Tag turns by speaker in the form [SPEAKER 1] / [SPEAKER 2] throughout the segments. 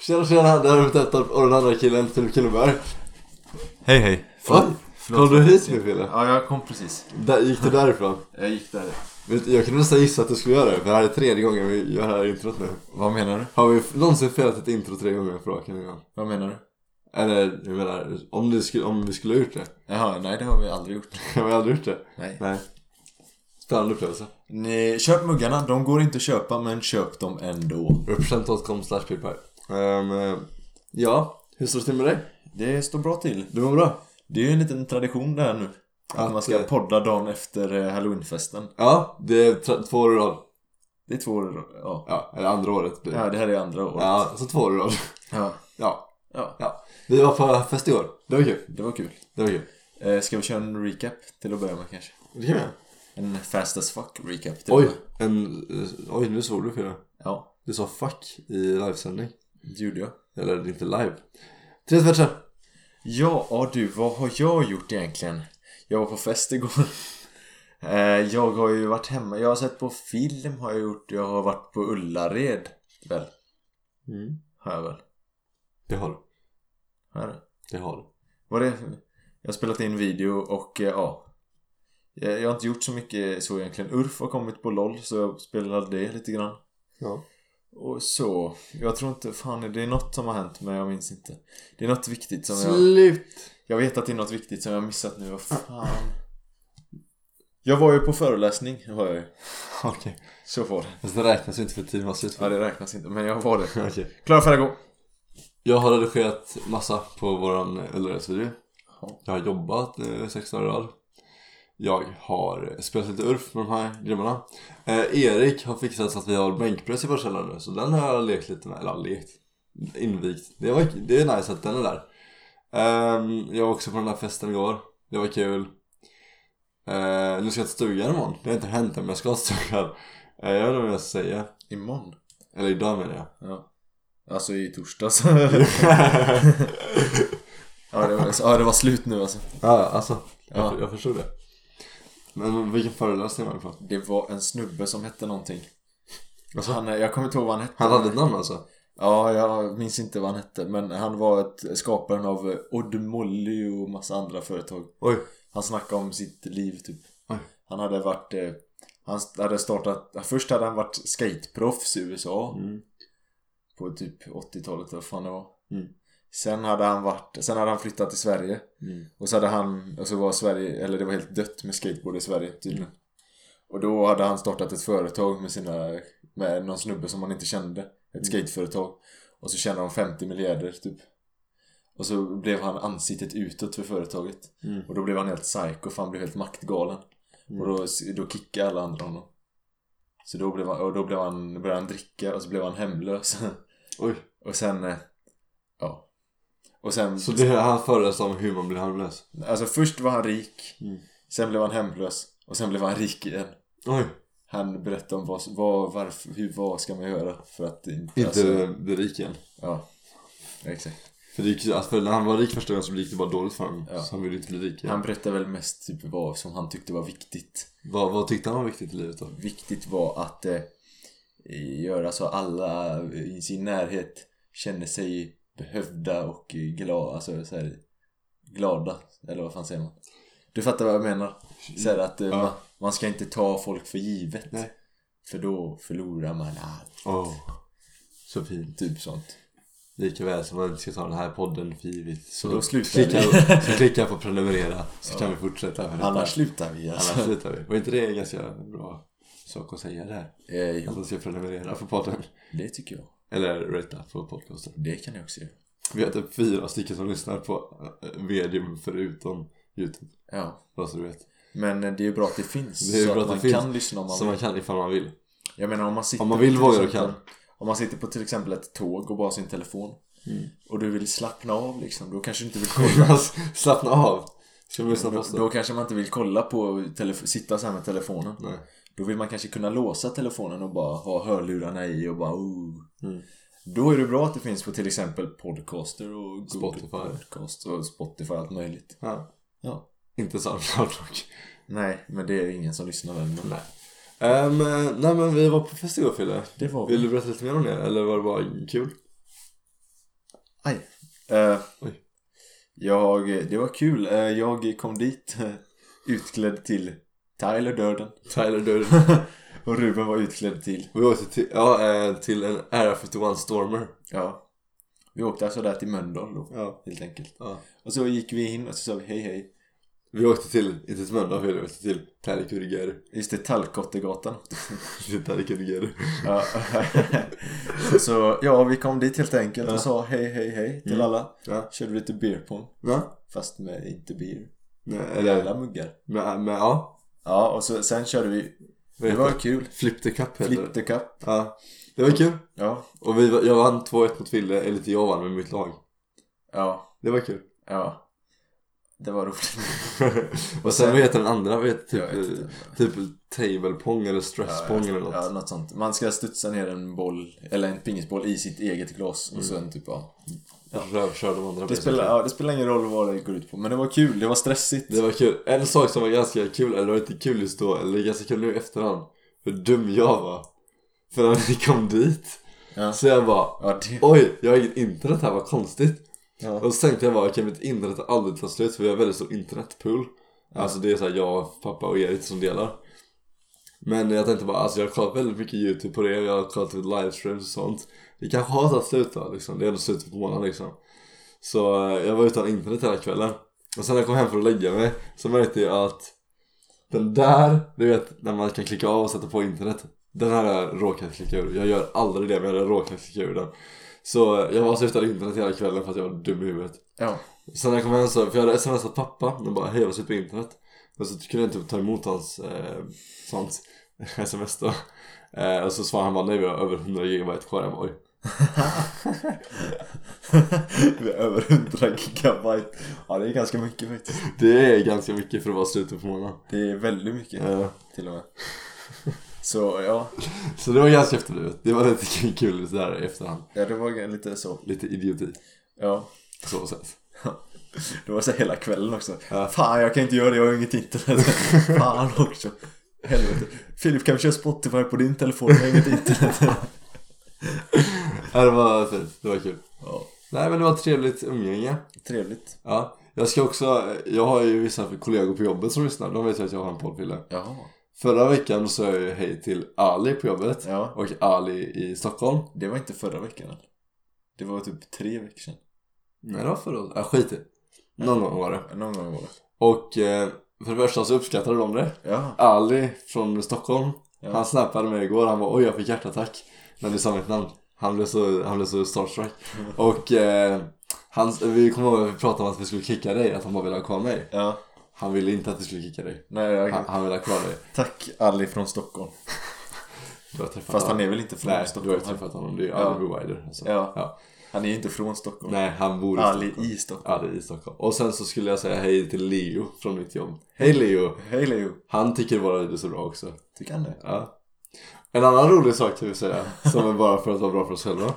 [SPEAKER 1] Tjena tjena, det här är ute efter och den andra killen, Filip Killenberg.
[SPEAKER 2] Hej hej!
[SPEAKER 1] Va? Kom du hit nu Fille?
[SPEAKER 2] Ja, jag kom precis.
[SPEAKER 1] Där, gick du därifrån?
[SPEAKER 2] Jag gick där.
[SPEAKER 1] Vet du, Jag kunde nästan gissa att du skulle göra det, för det här är tredje gången vi gör det här introt nu.
[SPEAKER 2] Vad menar du?
[SPEAKER 1] Har vi f- någonsin felat ett intro tre gånger på raken en gång?
[SPEAKER 2] Vad menar du?
[SPEAKER 1] Eller, jag menar, om, det skulle, om vi skulle ha gjort det.
[SPEAKER 2] Jaha, nej det har vi aldrig gjort.
[SPEAKER 1] Har vi aldrig gjort det?
[SPEAKER 2] Nej.
[SPEAKER 1] Nej. Spännande upplevelse.
[SPEAKER 2] Ni, köp muggarna, de går inte att köpa men köp dem ändå.
[SPEAKER 1] Represent.com slash pipar. Ehm, eh, ja, hur står det till med dig?
[SPEAKER 2] Det står bra till.
[SPEAKER 1] Du mår bra?
[SPEAKER 2] Det är ju en liten tradition det här nu. Att,
[SPEAKER 1] Att,
[SPEAKER 2] man ska
[SPEAKER 1] eh,
[SPEAKER 2] podda dagen efter eh, halloweenfesten.
[SPEAKER 1] Ja, det är tra- två år i rad.
[SPEAKER 2] Det är två år i rad, ja.
[SPEAKER 1] Ja, eller andra året blir det.
[SPEAKER 2] ja, det här är andra året.
[SPEAKER 1] Ja, så två år i rad.
[SPEAKER 2] ja.
[SPEAKER 1] Ja,
[SPEAKER 2] Ja,
[SPEAKER 1] ja. Vi var på fest i år. Det var kul.
[SPEAKER 2] det var kul.
[SPEAKER 1] Det var kul.
[SPEAKER 2] Eh, ska vi köra en recap till att börja med kanske?
[SPEAKER 1] Det kan vi göra.
[SPEAKER 2] En fast as fuck recap till att
[SPEAKER 1] Oj,
[SPEAKER 2] börja med.
[SPEAKER 1] en, eh, oj, nu svor du Fille.
[SPEAKER 2] Ja,
[SPEAKER 1] Du sa fuck i livesändning.
[SPEAKER 2] det gjorde jag.
[SPEAKER 1] Eller inte live. Tre tvärsar.
[SPEAKER 2] Ja, ja, du, vad har jag gjort egentligen? Jag var på fest igår. Eh, Jag har ju varit hemma, jag har sett på film har jag gjort, jag har varit på Ullared. Väl,
[SPEAKER 1] Mm.
[SPEAKER 2] har jag väl.
[SPEAKER 1] Det har du.
[SPEAKER 2] Har jag det?
[SPEAKER 1] Det har du.
[SPEAKER 2] Vad det Jag har spelat in video och eh, ja. Jag jag har inte gjort så mycket så egentligen. URF har kommit på LOL så jag spelade det lite grann.
[SPEAKER 1] Ja.
[SPEAKER 2] Och så. Jag tror inte, fan det är något som har hänt men jag minns inte. Det är något viktigt som jag...
[SPEAKER 1] Slut!
[SPEAKER 2] Jag vet att det är något viktigt som jag har missat nu, vad fan Jag var ju på föreläsning, det var jag ju.
[SPEAKER 1] Okej.
[SPEAKER 2] Så var det
[SPEAKER 1] Fast det räknas ju inte för tiden var slut.
[SPEAKER 2] Ja det räknas inte, men jag var det
[SPEAKER 1] Okej.
[SPEAKER 2] Klara Ferrago
[SPEAKER 1] Jag har redigerat massa på våran LRS-video.
[SPEAKER 2] Ja.
[SPEAKER 1] Jag har jobbat eh, sex dagar i rad. Jag har spelat lite URF med de här grabbarna. Eh, Erik har fixat så att vi har bänkpress i vår källare nu, så den har jag lekt lite med. Eller ja, lekt. Invigt. Det, var, det är nice att den är där. Ehm, jag var också på den här festen igår. Det var kul. Eh, nu ska jag till stugan imorgon. Det har inte hänt än, men jag ska till stugan. Eh, jag vet inte vad jag ska säga.
[SPEAKER 2] Imorgon?
[SPEAKER 1] Eller idag menar jag.
[SPEAKER 2] Ja Alltså i torsdags ja, det var, ja det var slut nu alltså
[SPEAKER 1] Ja, alltså.
[SPEAKER 2] Ja.
[SPEAKER 1] Jag, jag förstod det. Men vilken föreläsning var det från?
[SPEAKER 2] Det var en snubbe som hette någonting han, eh, Jag kommer inte ihåg vad han hette
[SPEAKER 1] Han hade ett namn alltså?
[SPEAKER 2] Ja, jag minns inte vad han hette Men han var ett, skaparen av eh, Oddmolly och massa andra företag
[SPEAKER 1] Oj.
[SPEAKER 2] Han snackade om sitt liv typ.
[SPEAKER 1] Oj.
[SPEAKER 2] Han hade varit eh, Han hade startat Först hade han varit skateproffs i USA
[SPEAKER 1] Mm.
[SPEAKER 2] På typ 80-talet eller vad fan det var
[SPEAKER 1] Mm.
[SPEAKER 2] Sen hade han varit Sen hade han flyttat till Sverige
[SPEAKER 1] Mm.
[SPEAKER 2] Och så hade han Och så var Sverige Eller det var helt dött med skateboard i Sverige tydligen
[SPEAKER 1] Mm.
[SPEAKER 2] Och då hade han startat ett företag med sina Med någon snubbe som han inte kände Ett
[SPEAKER 1] Mm.
[SPEAKER 2] skateföretag Och så tjänade de 50 miljarder typ Och så blev han ansiktet utåt för företaget
[SPEAKER 1] Mm.
[SPEAKER 2] och då blev han helt psycho för han blev helt maktgalen.
[SPEAKER 1] Mm.
[SPEAKER 2] Och då, då kickade alla andra honom. Så då, blev han, och då blev han, då började han dricka och så blev han hemlös.
[SPEAKER 1] Oj.
[SPEAKER 2] och sen, eh, ja. Och sen,
[SPEAKER 1] Så det, han föreläste om hur man blir harmlös?
[SPEAKER 2] alltså först var han rik.
[SPEAKER 1] Mm.
[SPEAKER 2] Sen blev han hemlös. Och sen blev han rik igen.
[SPEAKER 1] Oj.
[SPEAKER 2] Han berättade om vad, vad, varför, hur, vad ska man göra för att inte...
[SPEAKER 1] Inte
[SPEAKER 2] Alltså,
[SPEAKER 1] bli rik igen.
[SPEAKER 2] ja. Exakt.
[SPEAKER 1] För, det gick, ju- alltså, för när han var rik första gången så gick det bara dåligt för honom.
[SPEAKER 2] Ja.
[SPEAKER 1] Så han ville inte bli rik igen.
[SPEAKER 2] Han berättade väl mest typ vad som han tyckte var viktigt.
[SPEAKER 1] Vad, vad tyckte han var viktigt i livet då?
[SPEAKER 2] viktigt var att eh, göra så alla i sin närhet känner sig behövda och glada, alltså så här, glada, eller vad fan säger man? Du fattar vad jag menar? Så här att eh,
[SPEAKER 1] Ja.
[SPEAKER 2] man, man ska inte ta folk för givet.
[SPEAKER 1] Nej.
[SPEAKER 2] För då förlorar man allt.
[SPEAKER 1] Åh. Så fint.
[SPEAKER 2] Typ sånt.
[SPEAKER 1] Likaväl som man inte ska ta den här podden för givet. Så,
[SPEAKER 2] Då slutar
[SPEAKER 1] klicka,
[SPEAKER 2] vi.
[SPEAKER 1] så klicka på prenumerera så kan vi fortsätta. För detta.
[SPEAKER 2] Annars slutar vi
[SPEAKER 1] Annars
[SPEAKER 2] alltså.
[SPEAKER 1] slutar vi. Var inte det en ganska bra sak att säga där?
[SPEAKER 2] Eh,
[SPEAKER 1] Att
[SPEAKER 2] jo,
[SPEAKER 1] man ska prenumerera på podden.
[SPEAKER 2] det tycker jag.
[SPEAKER 1] Eller ratea på podcasten.
[SPEAKER 2] Det kan jag också göra.
[SPEAKER 1] Vi har typ fyra stycken som lyssnar på eh, medium förutom YouTube.
[SPEAKER 2] Ja.
[SPEAKER 1] Bara så du vet.
[SPEAKER 2] Men eh, det är ju bra att det finns.
[SPEAKER 1] Det är
[SPEAKER 2] så
[SPEAKER 1] bra
[SPEAKER 2] att
[SPEAKER 1] att
[SPEAKER 2] man
[SPEAKER 1] det finns.
[SPEAKER 2] kan lyssna om man
[SPEAKER 1] Som man kan ifall man vill.
[SPEAKER 2] Jag menar om man sitter
[SPEAKER 1] Om man vill
[SPEAKER 2] till
[SPEAKER 1] vågar och
[SPEAKER 2] exempel-
[SPEAKER 1] kan.
[SPEAKER 2] Om man sitter på till exempel ett tåg och bara har sin telefon
[SPEAKER 1] Mm.
[SPEAKER 2] Och du vill slappna av liksom, då kanske du inte vill kolla
[SPEAKER 1] Alltså, Slappna av. Ska vi lyssna på
[SPEAKER 2] då,
[SPEAKER 1] oss
[SPEAKER 2] Mm, då
[SPEAKER 1] då?
[SPEAKER 2] kanske man inte vill kolla på, telef- sitta så här med telefonen
[SPEAKER 1] Nej.
[SPEAKER 2] Då vill man kanske kunna låsa telefonen och bara ha hörlurarna i och bara oh.
[SPEAKER 1] Mm.
[SPEAKER 2] Då är det bra att det finns på till exempel podcaster och Google
[SPEAKER 1] Spotify.
[SPEAKER 2] Podcast och Spotify allt möjligt
[SPEAKER 1] Ja.
[SPEAKER 2] Ja
[SPEAKER 1] Inte Soundcloud dock.
[SPEAKER 2] Nej, men det är ingen som lyssnar väl men...
[SPEAKER 1] Nej. Ehm, eh, nej men vi var på fest igår Fille.
[SPEAKER 2] Det var vi.
[SPEAKER 1] Vill du berätta lite mer om det? Eller var det bara kul? Aj.
[SPEAKER 2] Eh,
[SPEAKER 1] Oj.
[SPEAKER 2] Jag, det var kul. Eh, Jag kom dit eh, utklädd till Tyler Durden.
[SPEAKER 1] Tyler Durden.
[SPEAKER 2] och Ruben var utklädd till,
[SPEAKER 1] Och vi åkte till, ja, eh, till en Air 51 Stormer.
[SPEAKER 2] ja. Vi åkte alltså där till Mölndal då,
[SPEAKER 1] Ja.
[SPEAKER 2] helt enkelt.
[SPEAKER 1] ja.
[SPEAKER 2] Och så gick vi in och så sa vi hej hej.
[SPEAKER 1] Vi åkte till, inte till Mölndal, vi åkte till Tallkurger.
[SPEAKER 2] Just det, Tallkottegatan.
[SPEAKER 1] Till Tallkurger.
[SPEAKER 2] Ja. så ja, vi kom dit helt enkelt
[SPEAKER 1] Ja.
[SPEAKER 2] och sa hej hej hej till
[SPEAKER 1] Mm.
[SPEAKER 2] alla.
[SPEAKER 1] Ja.
[SPEAKER 2] Körde lite beer pong,
[SPEAKER 1] Ja.
[SPEAKER 2] fast med inte beer.
[SPEAKER 1] Nej,
[SPEAKER 2] Eller
[SPEAKER 1] Eller,
[SPEAKER 2] muggar.
[SPEAKER 1] men, men ja.
[SPEAKER 2] Ja, och så, sen körde vi.
[SPEAKER 1] Vad
[SPEAKER 2] Det
[SPEAKER 1] heter
[SPEAKER 2] var kul.
[SPEAKER 1] Flip the Cup heter
[SPEAKER 2] Flip
[SPEAKER 1] det.
[SPEAKER 2] the cup.
[SPEAKER 1] Ja. Det var kul.
[SPEAKER 2] Ja,
[SPEAKER 1] Och vi, var- jag vann 2-1 mot Ville, eller inte jag vann med mitt lag.
[SPEAKER 2] ja,
[SPEAKER 1] Det var kul.
[SPEAKER 2] ja. Det var roligt.
[SPEAKER 1] och sen vad heter den andra? Vad heter
[SPEAKER 2] Jag vet inte.
[SPEAKER 1] typ, typ table pong eller stress pong eller något.
[SPEAKER 2] Ja, något sånt. Man ska studsa ner en boll, eller en pingisboll i sitt eget glas och sen typ ja.
[SPEAKER 1] Rövkör de andra.
[SPEAKER 2] Det spelar, ja, det spelar ingen roll vad det går ut på, men det var kul, det var stressigt.
[SPEAKER 1] Det var kul. En sak som var ganska kul, eller det var inte kul just då, eller det är ganska kul nu i efterhand. Hur dum jag var. För när vi kom dit,
[SPEAKER 2] Ja.
[SPEAKER 1] så jag bara
[SPEAKER 2] Ja, det...
[SPEAKER 1] Oj, jag har inget internet här, vad konstigt.
[SPEAKER 2] Ja.
[SPEAKER 1] Och så tänkte jag bara, okej mitt internet har aldrig tagit slut för vi har väldigt stor internetpool. Alltså det är såhär jag, pappa och Erik som delar. Men jag tänkte bara, alltså jag har kollat väldigt mycket YouTube på det, jag har kollat ut livestreams och sånt. Det kanske har tagit slut då liksom, det är ändå slutet på månaden liksom. Så eh, jag var utan internet hela kvällen. Och sen när jag kom hem för att lägga mig så märkte jag att den där, du vet när man kan klicka av och sätta på internet. Den här har jag råkat klicka ur. Jag gör aldrig det men jag har råkat klicka ur den. Så eh, jag var så utan internet hela kvällen för att jag var dum i huvudet.
[SPEAKER 2] ja.
[SPEAKER 1] Sen när jag kom hem så, för jag hade smsat pappa och bara hej jag var slut på internet Men så kunde jag inte ta emot hans eh, sånt sms då eh, Och så svarade han bara nej vi har över 100 gigabyte kvar, jag bara oj
[SPEAKER 2] det är över 100 gigabyte. Ja, det är ganska mycket faktiskt.
[SPEAKER 1] Det är ganska mycket för att vara slutet på månaden
[SPEAKER 2] Det är väldigt mycket,
[SPEAKER 1] eh,
[SPEAKER 2] till och med. Så ja,
[SPEAKER 1] Så det var ganska efterblivet, det var lite kul sådär i efterhand
[SPEAKER 2] ja, det var lite så.
[SPEAKER 1] Lite idioti
[SPEAKER 2] Ja.
[SPEAKER 1] på så sätt
[SPEAKER 2] Det var så hela kvällen också.
[SPEAKER 1] Ja.
[SPEAKER 2] Fan jag kan inte göra det, jag har inget internet. Fan också. Helvete. Filip kan vi köra Spotify på din telefon? Jag har inget internet.
[SPEAKER 1] ja, Det var fint, det var kul
[SPEAKER 2] Ja,
[SPEAKER 1] Nej men det var ett trevligt umgänge
[SPEAKER 2] trevligt.
[SPEAKER 1] Ja, jag ska också, jag har ju vissa kollegor på jobbet som lyssnar, de vet ju att jag har en poddfille
[SPEAKER 2] Jaha.
[SPEAKER 1] Förra veckan sa jag ju hej till Ali på jobbet
[SPEAKER 2] Ja,
[SPEAKER 1] och Ali i Stockholm.
[SPEAKER 2] det var inte förra veckan. eller? Det var typ tre veckor sedan.
[SPEAKER 1] Nej det var förra året. Ja, skit
[SPEAKER 2] Mm.
[SPEAKER 1] i. Någon gång var det.
[SPEAKER 2] Någon gång var det.
[SPEAKER 1] Och eh, för det första så uppskattade de det.
[SPEAKER 2] Ja.
[SPEAKER 1] Ali från Stockholm,
[SPEAKER 2] Ja.
[SPEAKER 1] han snappade mig igår. Han var oj jag fick hjärtattack när du sa mitt namn. Han blev så, han blev så starstruck.
[SPEAKER 2] Mm.
[SPEAKER 1] Och eh, han, vi kom ihåg att vi pratade om att vi skulle kicka dig, att han bara ville ha kvar mig.
[SPEAKER 2] Ja.
[SPEAKER 1] Han ville inte att vi skulle kicka dig.
[SPEAKER 2] Nej, jag...
[SPEAKER 1] Han, han ville ha kvar dig.
[SPEAKER 2] Tack Ali från Stockholm.
[SPEAKER 1] Du har träffat
[SPEAKER 2] Fast
[SPEAKER 1] honom.
[SPEAKER 2] han är väl inte från
[SPEAKER 1] Nej, du har
[SPEAKER 2] Stockholm?
[SPEAKER 1] ju träffat honom. Det är ju
[SPEAKER 2] Ja.
[SPEAKER 1] Ali Wider. Alltså.
[SPEAKER 2] Ja.
[SPEAKER 1] Ja.
[SPEAKER 2] Han är ju inte från Stockholm.
[SPEAKER 1] Nej, han bor i
[SPEAKER 2] Ali
[SPEAKER 1] Stockholm.
[SPEAKER 2] i Stockholm.
[SPEAKER 1] Ja, det är i Stockholm. Och sen så skulle jag säga hej till Leo från mitt jobb. Hej Leo!
[SPEAKER 2] Hej Leo.
[SPEAKER 1] Han tycker våra videos är bra också.
[SPEAKER 2] Tycker han det?
[SPEAKER 1] Ja. En annan rolig sak kan vi säga, som är bara för att vara bra för oss själva.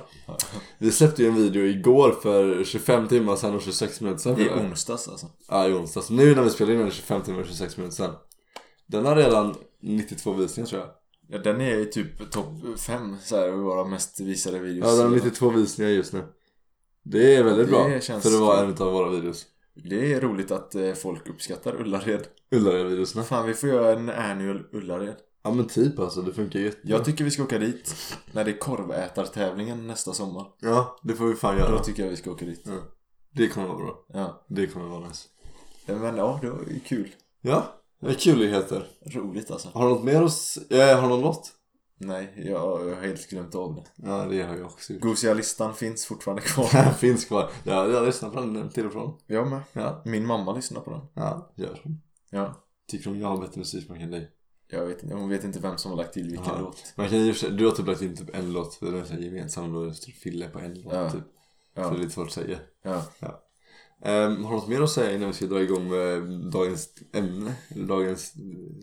[SPEAKER 1] Vi släppte ju en video igår för 25 timmar sedan och 26 minuter sedan.
[SPEAKER 2] I onsdags alltså.
[SPEAKER 1] Ja, i onsdags. Nu när vi spelar in den är det 25 timmar och 26 minuter sedan. Den har redan 92 visningar tror jag.
[SPEAKER 2] Ja, den är ju typ topp fem så här, våra mest visade videos.
[SPEAKER 1] Ja, den har 92 visningar just nu. Det är väldigt
[SPEAKER 2] Det
[SPEAKER 1] bra,
[SPEAKER 2] känns
[SPEAKER 1] för det var
[SPEAKER 2] bra.
[SPEAKER 1] en av våra videos.
[SPEAKER 2] Det är roligt att eh, folk uppskattar Ullared.
[SPEAKER 1] Ullared-videorna.
[SPEAKER 2] Fan, vi får göra en annual Ullared.
[SPEAKER 1] Ja men typ alltså, det funkar jättebra.
[SPEAKER 2] Jag tycker vi ska åka dit när det är korvätartävlingen nästa sommar.
[SPEAKER 1] Ja, det får vi fan göra.
[SPEAKER 2] Då tycker jag vi ska åka dit.
[SPEAKER 1] Det kommer vara bra.
[SPEAKER 2] Ja.
[SPEAKER 1] Det kommer vara nice.
[SPEAKER 2] Men ja, det var ju kul.
[SPEAKER 1] Ja, det är kulligheter.
[SPEAKER 2] Roligt alltså.
[SPEAKER 1] Har du något mer hos... Eh, har du något?
[SPEAKER 2] Nej, jag, jag har helt glömt av det.
[SPEAKER 1] Ja, det har jag också gjort.
[SPEAKER 2] Gosialistan finns fortfarande kvar.
[SPEAKER 1] Den finns kvar. Ja, jag lyssnar på den till och från.
[SPEAKER 2] Jag med.
[SPEAKER 1] Ja.
[SPEAKER 2] Min mamma lyssnar på den.
[SPEAKER 1] Ja, gör hon.
[SPEAKER 2] Ja.
[SPEAKER 1] Tycker hon jag har bättre musiksmak än dig?
[SPEAKER 2] Jag vet inte, hon vet inte vem som har lagt till vilken
[SPEAKER 1] Aha.
[SPEAKER 2] låt.
[SPEAKER 1] Man kan ju Du har typ lagt in typ en låt. Det är en sån här gemensam låt. Fille på en låt
[SPEAKER 2] Ja.
[SPEAKER 1] typ.
[SPEAKER 2] Ja.
[SPEAKER 1] Så det är lite svårt att säga.
[SPEAKER 2] Ja.
[SPEAKER 1] Ehm, har du något mer att säga innan vi ska dra igång med dagens ämne? Eller dagens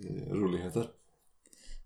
[SPEAKER 1] eh, roligheter?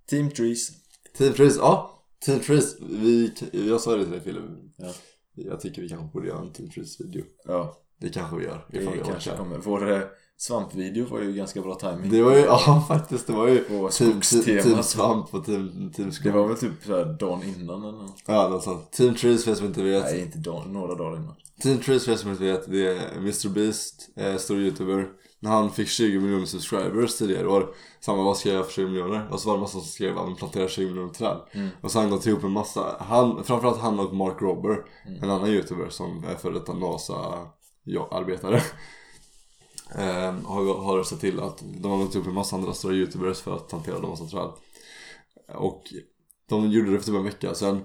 [SPEAKER 2] Team Trees.
[SPEAKER 1] Team Freeze, ja! Team Freeze, vi, jag sa det till dig Filip
[SPEAKER 2] Ja.
[SPEAKER 1] Jag tycker vi kanske borde göra en Team Freeze video
[SPEAKER 2] Ja,
[SPEAKER 1] Det kanske vi gör
[SPEAKER 2] det
[SPEAKER 1] ifall vi
[SPEAKER 2] kanske
[SPEAKER 1] orkar
[SPEAKER 2] kommer. Vår eh, Svampvideo var ju ganska bra timing
[SPEAKER 1] Det var ju, ja faktiskt det var ju
[SPEAKER 2] på
[SPEAKER 1] Team, team, team
[SPEAKER 2] skogstemat.
[SPEAKER 1] Svamp och Team, team
[SPEAKER 2] Det
[SPEAKER 1] Skog.
[SPEAKER 2] var väl typ såhär dagen innan eller något.
[SPEAKER 1] Ja någonstans. Team Trees för er som inte vet.
[SPEAKER 2] Nej, inte dagen, några dagar innan.
[SPEAKER 1] Team Trees för er som inte vet, det är Mr Beast, eh, stor youtuber. När han fick 20 miljoner subscribers tidigare år, samma vad ska jag göra för 20 miljoner? Och så var det massa som skrev att plantera 20 miljoner träd. Och så har han gått ihop en massa, han, framförallt han och Mark Robber, en annan youtuber som är före detta NASA-arbetare. Eh, har, har sett till att de har gått ihop en massa andra stora youtubers för att plantera de massa träd. Och de gjorde det för typ en vecka sedan.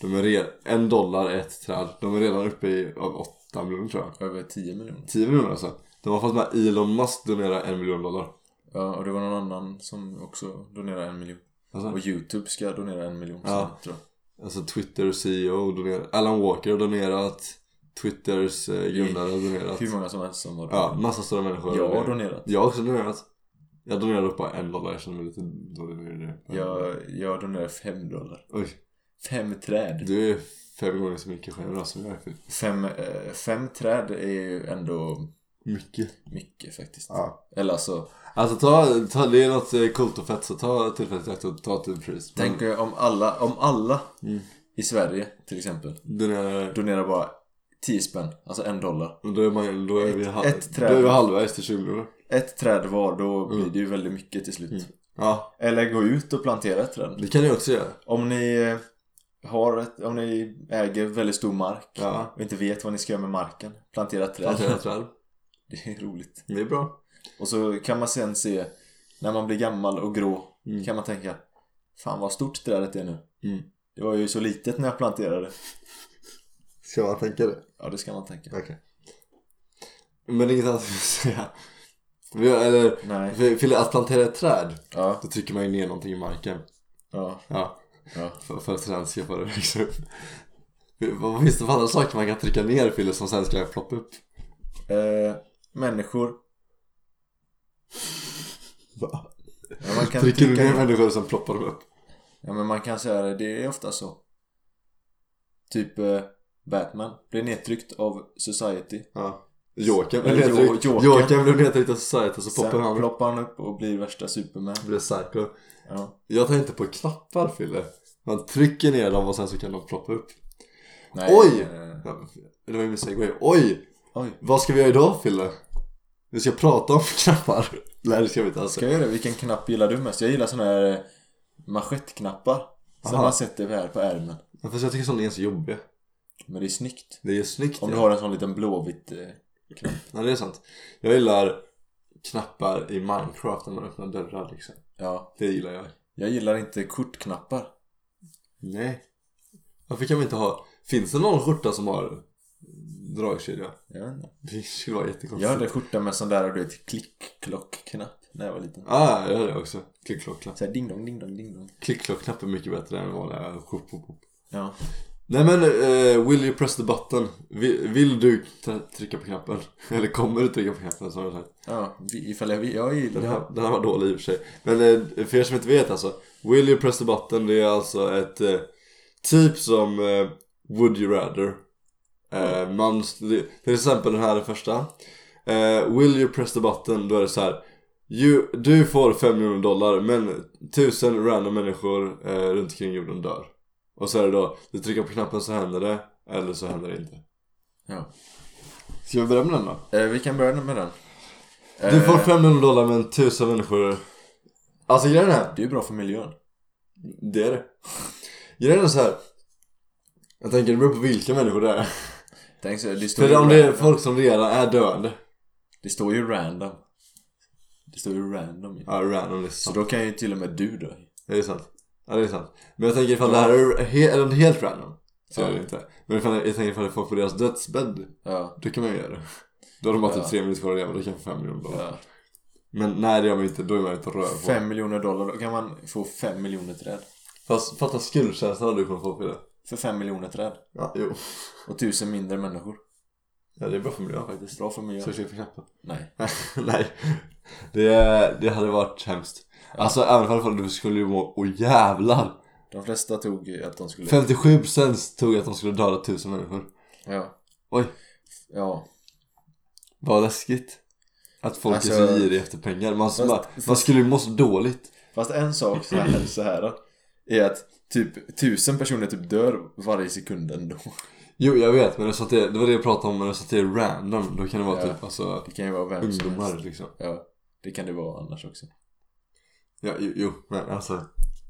[SPEAKER 1] De är re- en dollar ett träd. De är redan uppe i av åtta miljoner tror jag.
[SPEAKER 2] Över 10 miljoner.
[SPEAKER 1] 10 miljoner alltså. De har fått med Elon Musk donera en miljon dollar.
[SPEAKER 2] Ja, och det var någon annan som också donerade en miljon.
[SPEAKER 1] Alltså,
[SPEAKER 2] Och YouTube ska donera en miljon
[SPEAKER 1] Ja.
[SPEAKER 2] sen, tror jag.
[SPEAKER 1] alltså Twitter CEO donerar. Alan Walker har donerat. Twitters eh, grundare har donerat.
[SPEAKER 2] Hur många som helst som har
[SPEAKER 1] Ja, massa stora människor har
[SPEAKER 2] Jag har
[SPEAKER 1] donerat.
[SPEAKER 2] donerat.
[SPEAKER 1] Jag har också donerat. Jag donerade upp bara en dollar. Jag känner mig lite dålig nu. i det.
[SPEAKER 2] Jag, jag donerar 5 dollar.
[SPEAKER 1] Oj,
[SPEAKER 2] Fem träd.
[SPEAKER 1] du är fem gånger så mycket själv som jag är.
[SPEAKER 2] Fem, eh, fem träd är ju ändå
[SPEAKER 1] Mycket.
[SPEAKER 2] mycket faktiskt.
[SPEAKER 1] Ja.
[SPEAKER 2] Eller alltså,
[SPEAKER 1] Alltså ta, ta, det är något eh, coolt och fett så ta tillfället i akt och ta till pris. Men-
[SPEAKER 2] tänk om alla, om alla
[SPEAKER 1] Mm.
[SPEAKER 2] i Sverige till exempel
[SPEAKER 1] Den är,
[SPEAKER 2] donerar bara 10 spänn, alltså en dollar.
[SPEAKER 1] då är, man, då är vi, halv,
[SPEAKER 2] ett
[SPEAKER 1] då
[SPEAKER 2] träd.
[SPEAKER 1] är vi halvvägs till 20 miljoner.
[SPEAKER 2] Ett träd var, då blir
[SPEAKER 1] Mm.
[SPEAKER 2] det ju väldigt mycket till slut.
[SPEAKER 1] Mm. Ja,
[SPEAKER 2] Eller gå ut och plantera ett träd.
[SPEAKER 1] det kan ni också göra.
[SPEAKER 2] Om ni eh, har ett, om ni äger väldigt stor mark
[SPEAKER 1] Ja.
[SPEAKER 2] och inte vet vad ni ska göra med marken, plantera ett träd.
[SPEAKER 1] Plantera träd.
[SPEAKER 2] Det är roligt.
[SPEAKER 1] Det är bra.
[SPEAKER 2] Och så kan man sen se, när man blir gammal och grå,
[SPEAKER 1] Mm.
[SPEAKER 2] kan man tänka Fan vad stort trädet är nu.
[SPEAKER 1] Mm.
[SPEAKER 2] Det var ju så litet när jag planterade.
[SPEAKER 1] Ska man tänka det?
[SPEAKER 2] Ja, det ska man tänka.
[SPEAKER 1] Okej. Men inget annat att säga. Vi har, eller,
[SPEAKER 2] Nej.
[SPEAKER 1] för, för att plantera ett träd,
[SPEAKER 2] Ja,
[SPEAKER 1] då trycker man ju ner någonting i marken.
[SPEAKER 2] ja,
[SPEAKER 1] Ja,
[SPEAKER 2] ja.
[SPEAKER 1] för, för att träd ska få det att växa upp. Vad finns det för andra saker man kan trycka ner Fille som sen ska ploppa upp?
[SPEAKER 2] Eh, människor.
[SPEAKER 1] Va?
[SPEAKER 2] Ja, man kan
[SPEAKER 1] Trycker du
[SPEAKER 2] trycka
[SPEAKER 1] ner
[SPEAKER 2] in.
[SPEAKER 1] människor som ploppar de upp?
[SPEAKER 2] Ja, men man kan säga det. Det är ofta så. Typ eh, Batman. Blev nedtryckt av Society.
[SPEAKER 1] Ja. Jokern blev
[SPEAKER 2] Eller Jo-
[SPEAKER 1] nedtryckt.
[SPEAKER 2] Jokern.
[SPEAKER 1] Jokern blev nedtryckt av Society så poppar
[SPEAKER 2] Sen
[SPEAKER 1] han upp.
[SPEAKER 2] ploppar han upp och blir värsta Superman.
[SPEAKER 1] Blir psycho.
[SPEAKER 2] Ja.
[SPEAKER 1] Jag tänkte på knappar Fille. Man trycker ner dem och sen så kan de ploppa upp.
[SPEAKER 2] Nej,
[SPEAKER 1] Oj!
[SPEAKER 2] eh,
[SPEAKER 1] Ja, Det var ju min segway. Oj!
[SPEAKER 2] oj.
[SPEAKER 1] Vad ska vi göra idag Fille? Vi ska prata om knappar. Nej det ska vi inte alls.
[SPEAKER 2] Ska jag göra det? Vilken knapp gillar du mest? Jag gillar såna här eh, manschettknappar. Som
[SPEAKER 1] Aha.
[SPEAKER 2] man sätter här på ärmen.
[SPEAKER 1] Fast jag tycker sådana är så jobbiga.
[SPEAKER 2] Men det är snyggt.
[SPEAKER 1] Det är snyggt.
[SPEAKER 2] Om du
[SPEAKER 1] ja.
[SPEAKER 2] har en sån liten blåvit... eh,
[SPEAKER 1] Ja det är sant. Jag gillar knappar i Minecraft när man öppnar dörrar liksom.
[SPEAKER 2] Ja.
[SPEAKER 1] Det gillar jag.
[SPEAKER 2] Jag gillar inte kortknappar.
[SPEAKER 1] Nej. Varför kan vi inte ha... Finns det någon skjorta som har dragkedja?
[SPEAKER 2] Jag vet inte.
[SPEAKER 1] Det skulle vara jättekonstigt.
[SPEAKER 2] Jag hade skjorta med sån där, du vet, klick-klock-knapp. När jag var liten.
[SPEAKER 1] Ah, jag har det också. Klick-klock-knapp.
[SPEAKER 2] Såhär ding-dong, ding-dong, ding-dong.
[SPEAKER 1] Klick-klock-knapp är mycket bättre än vanliga pop, pop, pop.
[SPEAKER 2] Ja.
[SPEAKER 1] Nej men, eh, will you press the button? Vill, vill du tra- trycka på knappen? Eller kommer du trycka på knappen som jag sagt?
[SPEAKER 2] Ja, vi- ifall jag, jag gillar...
[SPEAKER 1] Den här, den här var dålig i och för sig. Men eh, för er som inte vet alltså. Will you press the button? Det är alltså ett eh, typ som eh, Would you rather. Eh, man, till exempel den här den första. Eh, will you press the button? Då är det så här. You, du får 5 miljoner dollar men tusen random människor eh, runt omkring jorden dör. Och så är det då, du trycker på knappen så händer det. Eller så händer det inte.
[SPEAKER 2] Ja.
[SPEAKER 1] Ska vi börja med den då?
[SPEAKER 2] Eh, vi kan börja med den.
[SPEAKER 1] Du
[SPEAKER 2] Eh,
[SPEAKER 1] får 500 dollar men tusen människor. Alltså grejen är.
[SPEAKER 2] Det är ju bra för miljön.
[SPEAKER 1] Det är det. Grejen är så här. Jag tänker det beror på vilka människor det är.
[SPEAKER 2] Tänk så, det står, ju
[SPEAKER 1] För om det är
[SPEAKER 2] random.
[SPEAKER 1] folk som redan är döende.
[SPEAKER 2] det står ju random. Det står ju random ju.
[SPEAKER 1] Ja, random det är
[SPEAKER 2] Så
[SPEAKER 1] sant.
[SPEAKER 2] då kan ju till och med du dö.
[SPEAKER 1] Det är sant. Ja, det är sant. Men jag tänker ifall det här är he- eller helt random. Så är det
[SPEAKER 2] Ja.
[SPEAKER 1] inte. Men ifall, jag tänker ifall det är folk på deras dödsbädd.
[SPEAKER 2] Ja.
[SPEAKER 1] Då kan man ju göra det. Då har de bara
[SPEAKER 2] Ja.
[SPEAKER 1] typ tre minuter kvar att leva. Då kan jag få fem miljoner dollar.
[SPEAKER 2] ja.
[SPEAKER 1] Men nej det gör man ju inte. Då är man ju inte röd på.
[SPEAKER 2] Fem miljoner dollar, då kan man få fem miljoner träd.
[SPEAKER 1] Fast fatta skuldkänslan du kommer få för det.
[SPEAKER 2] För fem miljoner träd.
[SPEAKER 1] Ja, jo.
[SPEAKER 2] Och tusen mindre människor.
[SPEAKER 1] Ja, det är bra för miljön faktiskt.
[SPEAKER 2] Det är bra för miljön.
[SPEAKER 1] Så jag på knappen.
[SPEAKER 2] Nej.
[SPEAKER 1] Nej, det, det hade varit hemskt. Alltså även om du skulle ju må, åh jävlar!
[SPEAKER 2] De flesta tog ju att de skulle...
[SPEAKER 1] 57% tog att de skulle döda 1000 människor.
[SPEAKER 2] Ja.
[SPEAKER 1] Oj.
[SPEAKER 2] Ja.
[SPEAKER 1] Vad läskigt. Att folk är så
[SPEAKER 2] Alltså-
[SPEAKER 1] giriga efter pengar. Man,
[SPEAKER 2] Fast-
[SPEAKER 1] man, man skulle ju må så dåligt.
[SPEAKER 2] Fast en sak så här, så här då, är att typ tusen personer typ dör varje sekund ändå.
[SPEAKER 1] Jo, jag vet. Men det, är så att det, det var det jag pratade om. Men det är så att det är random. Då kan det vara
[SPEAKER 2] Ja.
[SPEAKER 1] typ alltså,
[SPEAKER 2] Det kan ju vara vem som
[SPEAKER 1] ungdomar
[SPEAKER 2] helst.
[SPEAKER 1] liksom.
[SPEAKER 2] Ja, det kan det vara annars också.
[SPEAKER 1] Ja, jo, jo, men alltså.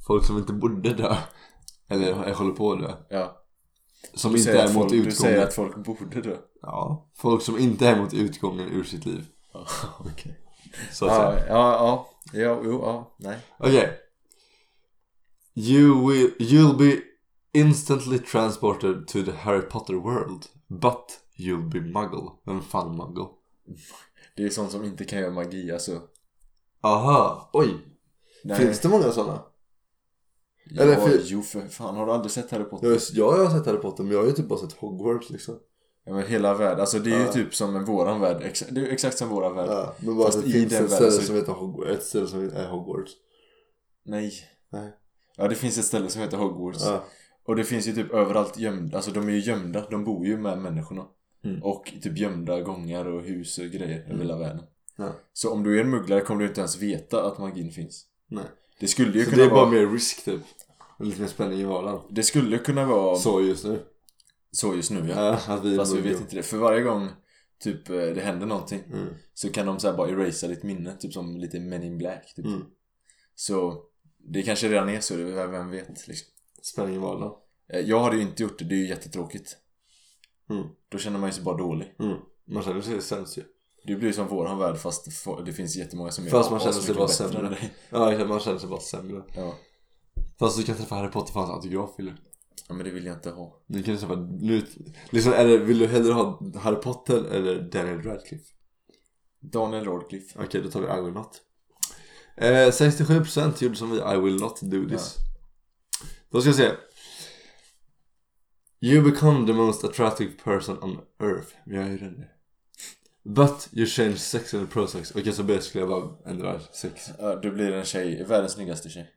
[SPEAKER 1] Folk som inte borde dö. Eller jag håller på att dö.
[SPEAKER 2] Ja.
[SPEAKER 1] Som
[SPEAKER 2] Du
[SPEAKER 1] inte
[SPEAKER 2] säger
[SPEAKER 1] är
[SPEAKER 2] att
[SPEAKER 1] mot
[SPEAKER 2] folk, du säger
[SPEAKER 1] utgången.
[SPEAKER 2] att folk borde dö.
[SPEAKER 1] Ja, folk som inte är mot utgången ur sitt liv.
[SPEAKER 2] Ja, Okej.
[SPEAKER 1] Så att säga.
[SPEAKER 2] Ja, ja, ja. Ja, jo, ja, nej.
[SPEAKER 1] Okay. You will you'll be instantly transported to the Harry Potter world. But you'll be muggle. Vem fan muggle?
[SPEAKER 2] Det är sånt som inte kan göra magi alltså.
[SPEAKER 1] Aha, oj.
[SPEAKER 2] Nej.
[SPEAKER 1] Finns det många sådana?
[SPEAKER 2] Ja,
[SPEAKER 1] Eller för-
[SPEAKER 2] Jo för fan, har du aldrig sett Harry Potter?
[SPEAKER 1] Jag, har- jag har sett Harry Potter men jag har ju typ bara sett Hogwarts liksom.
[SPEAKER 2] Ja, men hela världen, alltså det är ju
[SPEAKER 1] Ja.
[SPEAKER 2] typ som en våran värld. Ex- det är ju exakt som våran värld.
[SPEAKER 1] Ja, men bara
[SPEAKER 2] Fast
[SPEAKER 1] att det
[SPEAKER 2] i
[SPEAKER 1] finns
[SPEAKER 2] den
[SPEAKER 1] ett
[SPEAKER 2] världen
[SPEAKER 1] ställe
[SPEAKER 2] så-
[SPEAKER 1] som heter Hogwarts. Ett ställe som är Hogwarts.
[SPEAKER 2] Nej.
[SPEAKER 1] Nej.
[SPEAKER 2] Ja, det finns ett ställe som heter Hogwarts.
[SPEAKER 1] Ja.
[SPEAKER 2] Och det finns ju typ överallt gömda, alltså de är ju gömda, de bor ju med människorna.
[SPEAKER 1] Mm.
[SPEAKER 2] Och typ gömda gångar och hus och grejer över hela världen.
[SPEAKER 1] Ja.
[SPEAKER 2] Så om du är en mugglare kommer du inte ens veta att magin finns.
[SPEAKER 1] Nej.
[SPEAKER 2] Det skulle ju
[SPEAKER 1] Så
[SPEAKER 2] kunna
[SPEAKER 1] det är
[SPEAKER 2] vara...
[SPEAKER 1] bara mer risk typ. Och lite mer spänning i vardagen.
[SPEAKER 2] Det skulle kunna vara så,
[SPEAKER 1] Så just nu.
[SPEAKER 2] just nu ja.
[SPEAKER 1] Ja, att vi är
[SPEAKER 2] Fast vi vet
[SPEAKER 1] muggle.
[SPEAKER 2] inte det. För varje gång typ eh, det händer någonting
[SPEAKER 1] Mm.
[SPEAKER 2] så kan de så här bara erasa ditt minne. Typ som lite Men in Black. Typ.
[SPEAKER 1] Mm.
[SPEAKER 2] Så det kanske redan är så, det är- vem vet liksom.
[SPEAKER 1] Spänning i vardagen.
[SPEAKER 2] Eh, Jag hade ju inte gjort det, det är ju jättetråkigt.
[SPEAKER 1] Mm.
[SPEAKER 2] Då känner man ju sig bara dålig.
[SPEAKER 1] Mm. Man känner sig sämst ju.
[SPEAKER 2] Det blir ju som våran värld fast fo- det finns jättemånga som är
[SPEAKER 1] Fast man känner sig
[SPEAKER 2] asmycket
[SPEAKER 1] bara
[SPEAKER 2] bättre
[SPEAKER 1] sämre.
[SPEAKER 2] än dig.
[SPEAKER 1] Ja, exakt, man känner sig bara sämre.
[SPEAKER 2] Ja.
[SPEAKER 1] Fast du kan träffa Harry Potter för hans autograf vill du?
[SPEAKER 2] ja, men det vill jag inte ha.
[SPEAKER 1] Nu kan du träffa, nu, liksom, är det, vill du hellre ha Harry Potter eller Daniel Radcliffe?
[SPEAKER 2] Daniel Radcliffe.
[SPEAKER 1] Okej, då tar vi I will not. Eh, 67% gjorde som vi, I will not do this. Då ska vi se. You become the most attractive person on earth. Vi har ju redan det. But you change sex and pro-sex. Okej, så basically jag bara ändrar sex.
[SPEAKER 2] Ja, du blir en tjej, världens snyggaste tjej.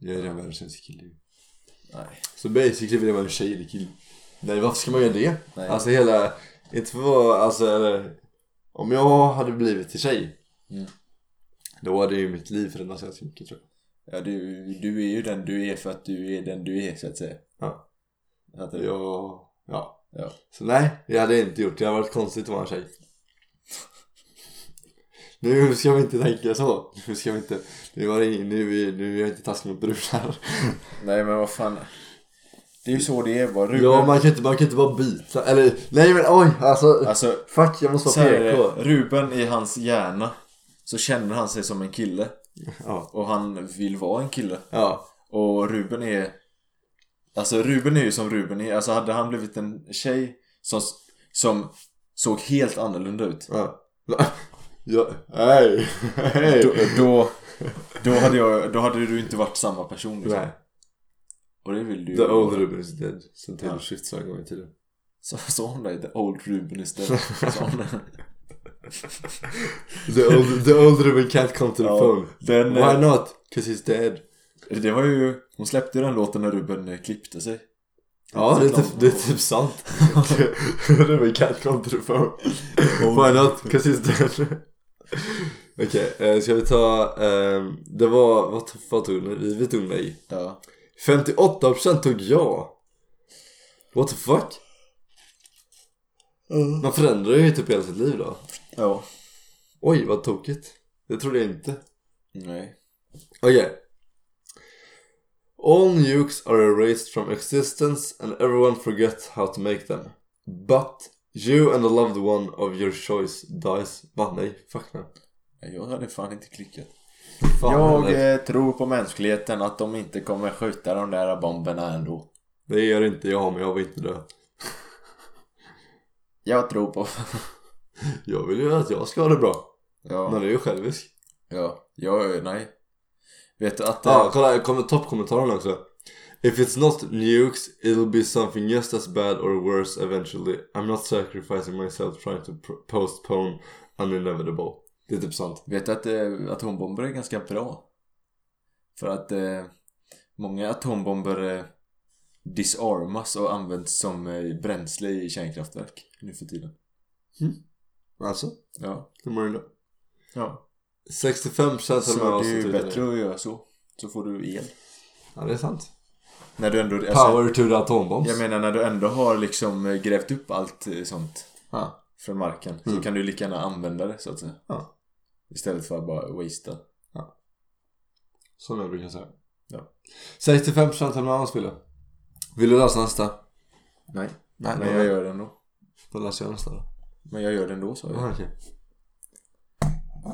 [SPEAKER 1] Jag är redan världens sämsta kille.
[SPEAKER 2] Nej.
[SPEAKER 1] Så basically vill jag vara en tjej eller kille. Nej varför ska man göra det?
[SPEAKER 2] Nej.
[SPEAKER 1] Alltså hela, inte för att vara- alltså eller, om jag hade blivit till tjej.
[SPEAKER 2] Mm.
[SPEAKER 1] Då hade ju mitt liv förändrats ganska mycket tror jag.
[SPEAKER 2] Ja, du, du är ju den du är för att du är den du är så att säga.
[SPEAKER 1] Ja.
[SPEAKER 2] Att det,
[SPEAKER 1] Jag, ja.
[SPEAKER 2] Ja.
[SPEAKER 1] Så nej, det hade jag inte gjort. Det hade varit konstigt att vara en tjej. Nu ska vi inte tänka så. Nu ska vi inte, nu var det, ing- nu, är- nu är jag inte taskig mot brudar.
[SPEAKER 2] Nej men vad fan. Det är ju så det är bara. Ruben,
[SPEAKER 1] Ja man kan inte, man kan inte bara byta, eller nej men oj alltså.
[SPEAKER 2] Alltså,
[SPEAKER 1] Fuck jag måste
[SPEAKER 2] så
[SPEAKER 1] vara
[SPEAKER 2] här är
[SPEAKER 1] PK.
[SPEAKER 2] det. Ruben i hans hjärna. Så känner han sig som en kille.
[SPEAKER 1] Ja.
[SPEAKER 2] Och han vill vara en kille.
[SPEAKER 1] Ja.
[SPEAKER 2] Och Ruben är Alltså Ruben är ju som Ruben är Alltså hade han blivit en tjej Som, som såg helt annorlunda ut
[SPEAKER 1] Ja. Ja, hej,
[SPEAKER 2] då,
[SPEAKER 1] hej.
[SPEAKER 2] då, då, hade jag, då hade du inte varit samma person liksom.
[SPEAKER 1] Nej,
[SPEAKER 2] Och det vill du ju
[SPEAKER 1] the old Ruben is dead. Sen Taylor
[SPEAKER 2] Ja.
[SPEAKER 1] Swift sa en gång i tiden.
[SPEAKER 2] Så sa hon det? The old Ruben istället Sa hon det?
[SPEAKER 1] The old, the old Ruben can't come to the
[SPEAKER 2] Ja,
[SPEAKER 1] phone.
[SPEAKER 2] den, eh,
[SPEAKER 1] Why not? Cause he's dead.
[SPEAKER 2] Det var ju Hon släppte ju den låten när Ruben eh, klippte sig
[SPEAKER 1] Ja, det är, typ,
[SPEAKER 2] klart.
[SPEAKER 1] det är typ sant. Ruben can't come to the phone. Why not? Cause he's dead. Okej, eh, ska vi ta... ehm, det var... Vad, t- vad tog ni? Vi- Vi tog nej.
[SPEAKER 2] Ja
[SPEAKER 1] 58% tog ja. What the fuck? Man förändrar ju typ hela sitt liv då.
[SPEAKER 2] Ja
[SPEAKER 1] Oj, vad tokigt. Det trodde jag inte.
[SPEAKER 2] Nej
[SPEAKER 1] Okej. All nukes are erased from existence and everyone forgets how to make them. But you and a loved one of your choice dies. Va? Nej, fuck nej.
[SPEAKER 2] Jag hade fan inte klickat
[SPEAKER 1] Fan, heller.
[SPEAKER 2] Jag eh, tror på mänskligheten att de inte kommer skjuta de där bomberna ändå.
[SPEAKER 1] Det gör inte jag, men jag vill inte dö.
[SPEAKER 2] Jag tror på...
[SPEAKER 1] Jag vill ju att jag ska ha det bra. Men
[SPEAKER 2] ja.
[SPEAKER 1] det är ju självisk.
[SPEAKER 2] ja. Jag, nej. Vet du att...
[SPEAKER 1] Ja,
[SPEAKER 2] eh,
[SPEAKER 1] ah, kolla kom- toppkommentaren också. If it's not nukes, it'll be something just as bad or worse eventually. I'm not sacrificing myself trying to pr- postpone an inevitable. Det är typ sant.
[SPEAKER 2] Vet du att eh, atombomber är ganska bra? För att eh, många atombomber eh, disarmas och används som eh, bränsle i kärnkraftverk nu för tiden.
[SPEAKER 1] Alltså,
[SPEAKER 2] Ja.
[SPEAKER 1] hur mår du då?
[SPEAKER 2] ja.
[SPEAKER 1] 65 procent av de här
[SPEAKER 2] Så det är ju
[SPEAKER 1] avsnitten
[SPEAKER 2] bättre att göra så. Så får du el.
[SPEAKER 1] Ja, det är sant.
[SPEAKER 2] När du ändå... alltså,
[SPEAKER 1] Power to the atombombs.
[SPEAKER 2] Jag menar när du ändå har liksom eh, grävt upp allt eh, sånt
[SPEAKER 1] ja.
[SPEAKER 2] från marken så
[SPEAKER 1] Mm.
[SPEAKER 2] kan du lika gärna använda det så att säga.
[SPEAKER 1] Ja.
[SPEAKER 2] Istället för att bara wastea.
[SPEAKER 1] Som jag brukar säga.
[SPEAKER 2] Ja.
[SPEAKER 1] 65 procent av de här avsnitten. Vill du läsa nästa?
[SPEAKER 2] Nej.
[SPEAKER 1] Nej,
[SPEAKER 2] Men jag gör det ändå.
[SPEAKER 1] Då läser jag nästa då.
[SPEAKER 2] Men jag gör det ändå sa jag.
[SPEAKER 1] Ja, okej.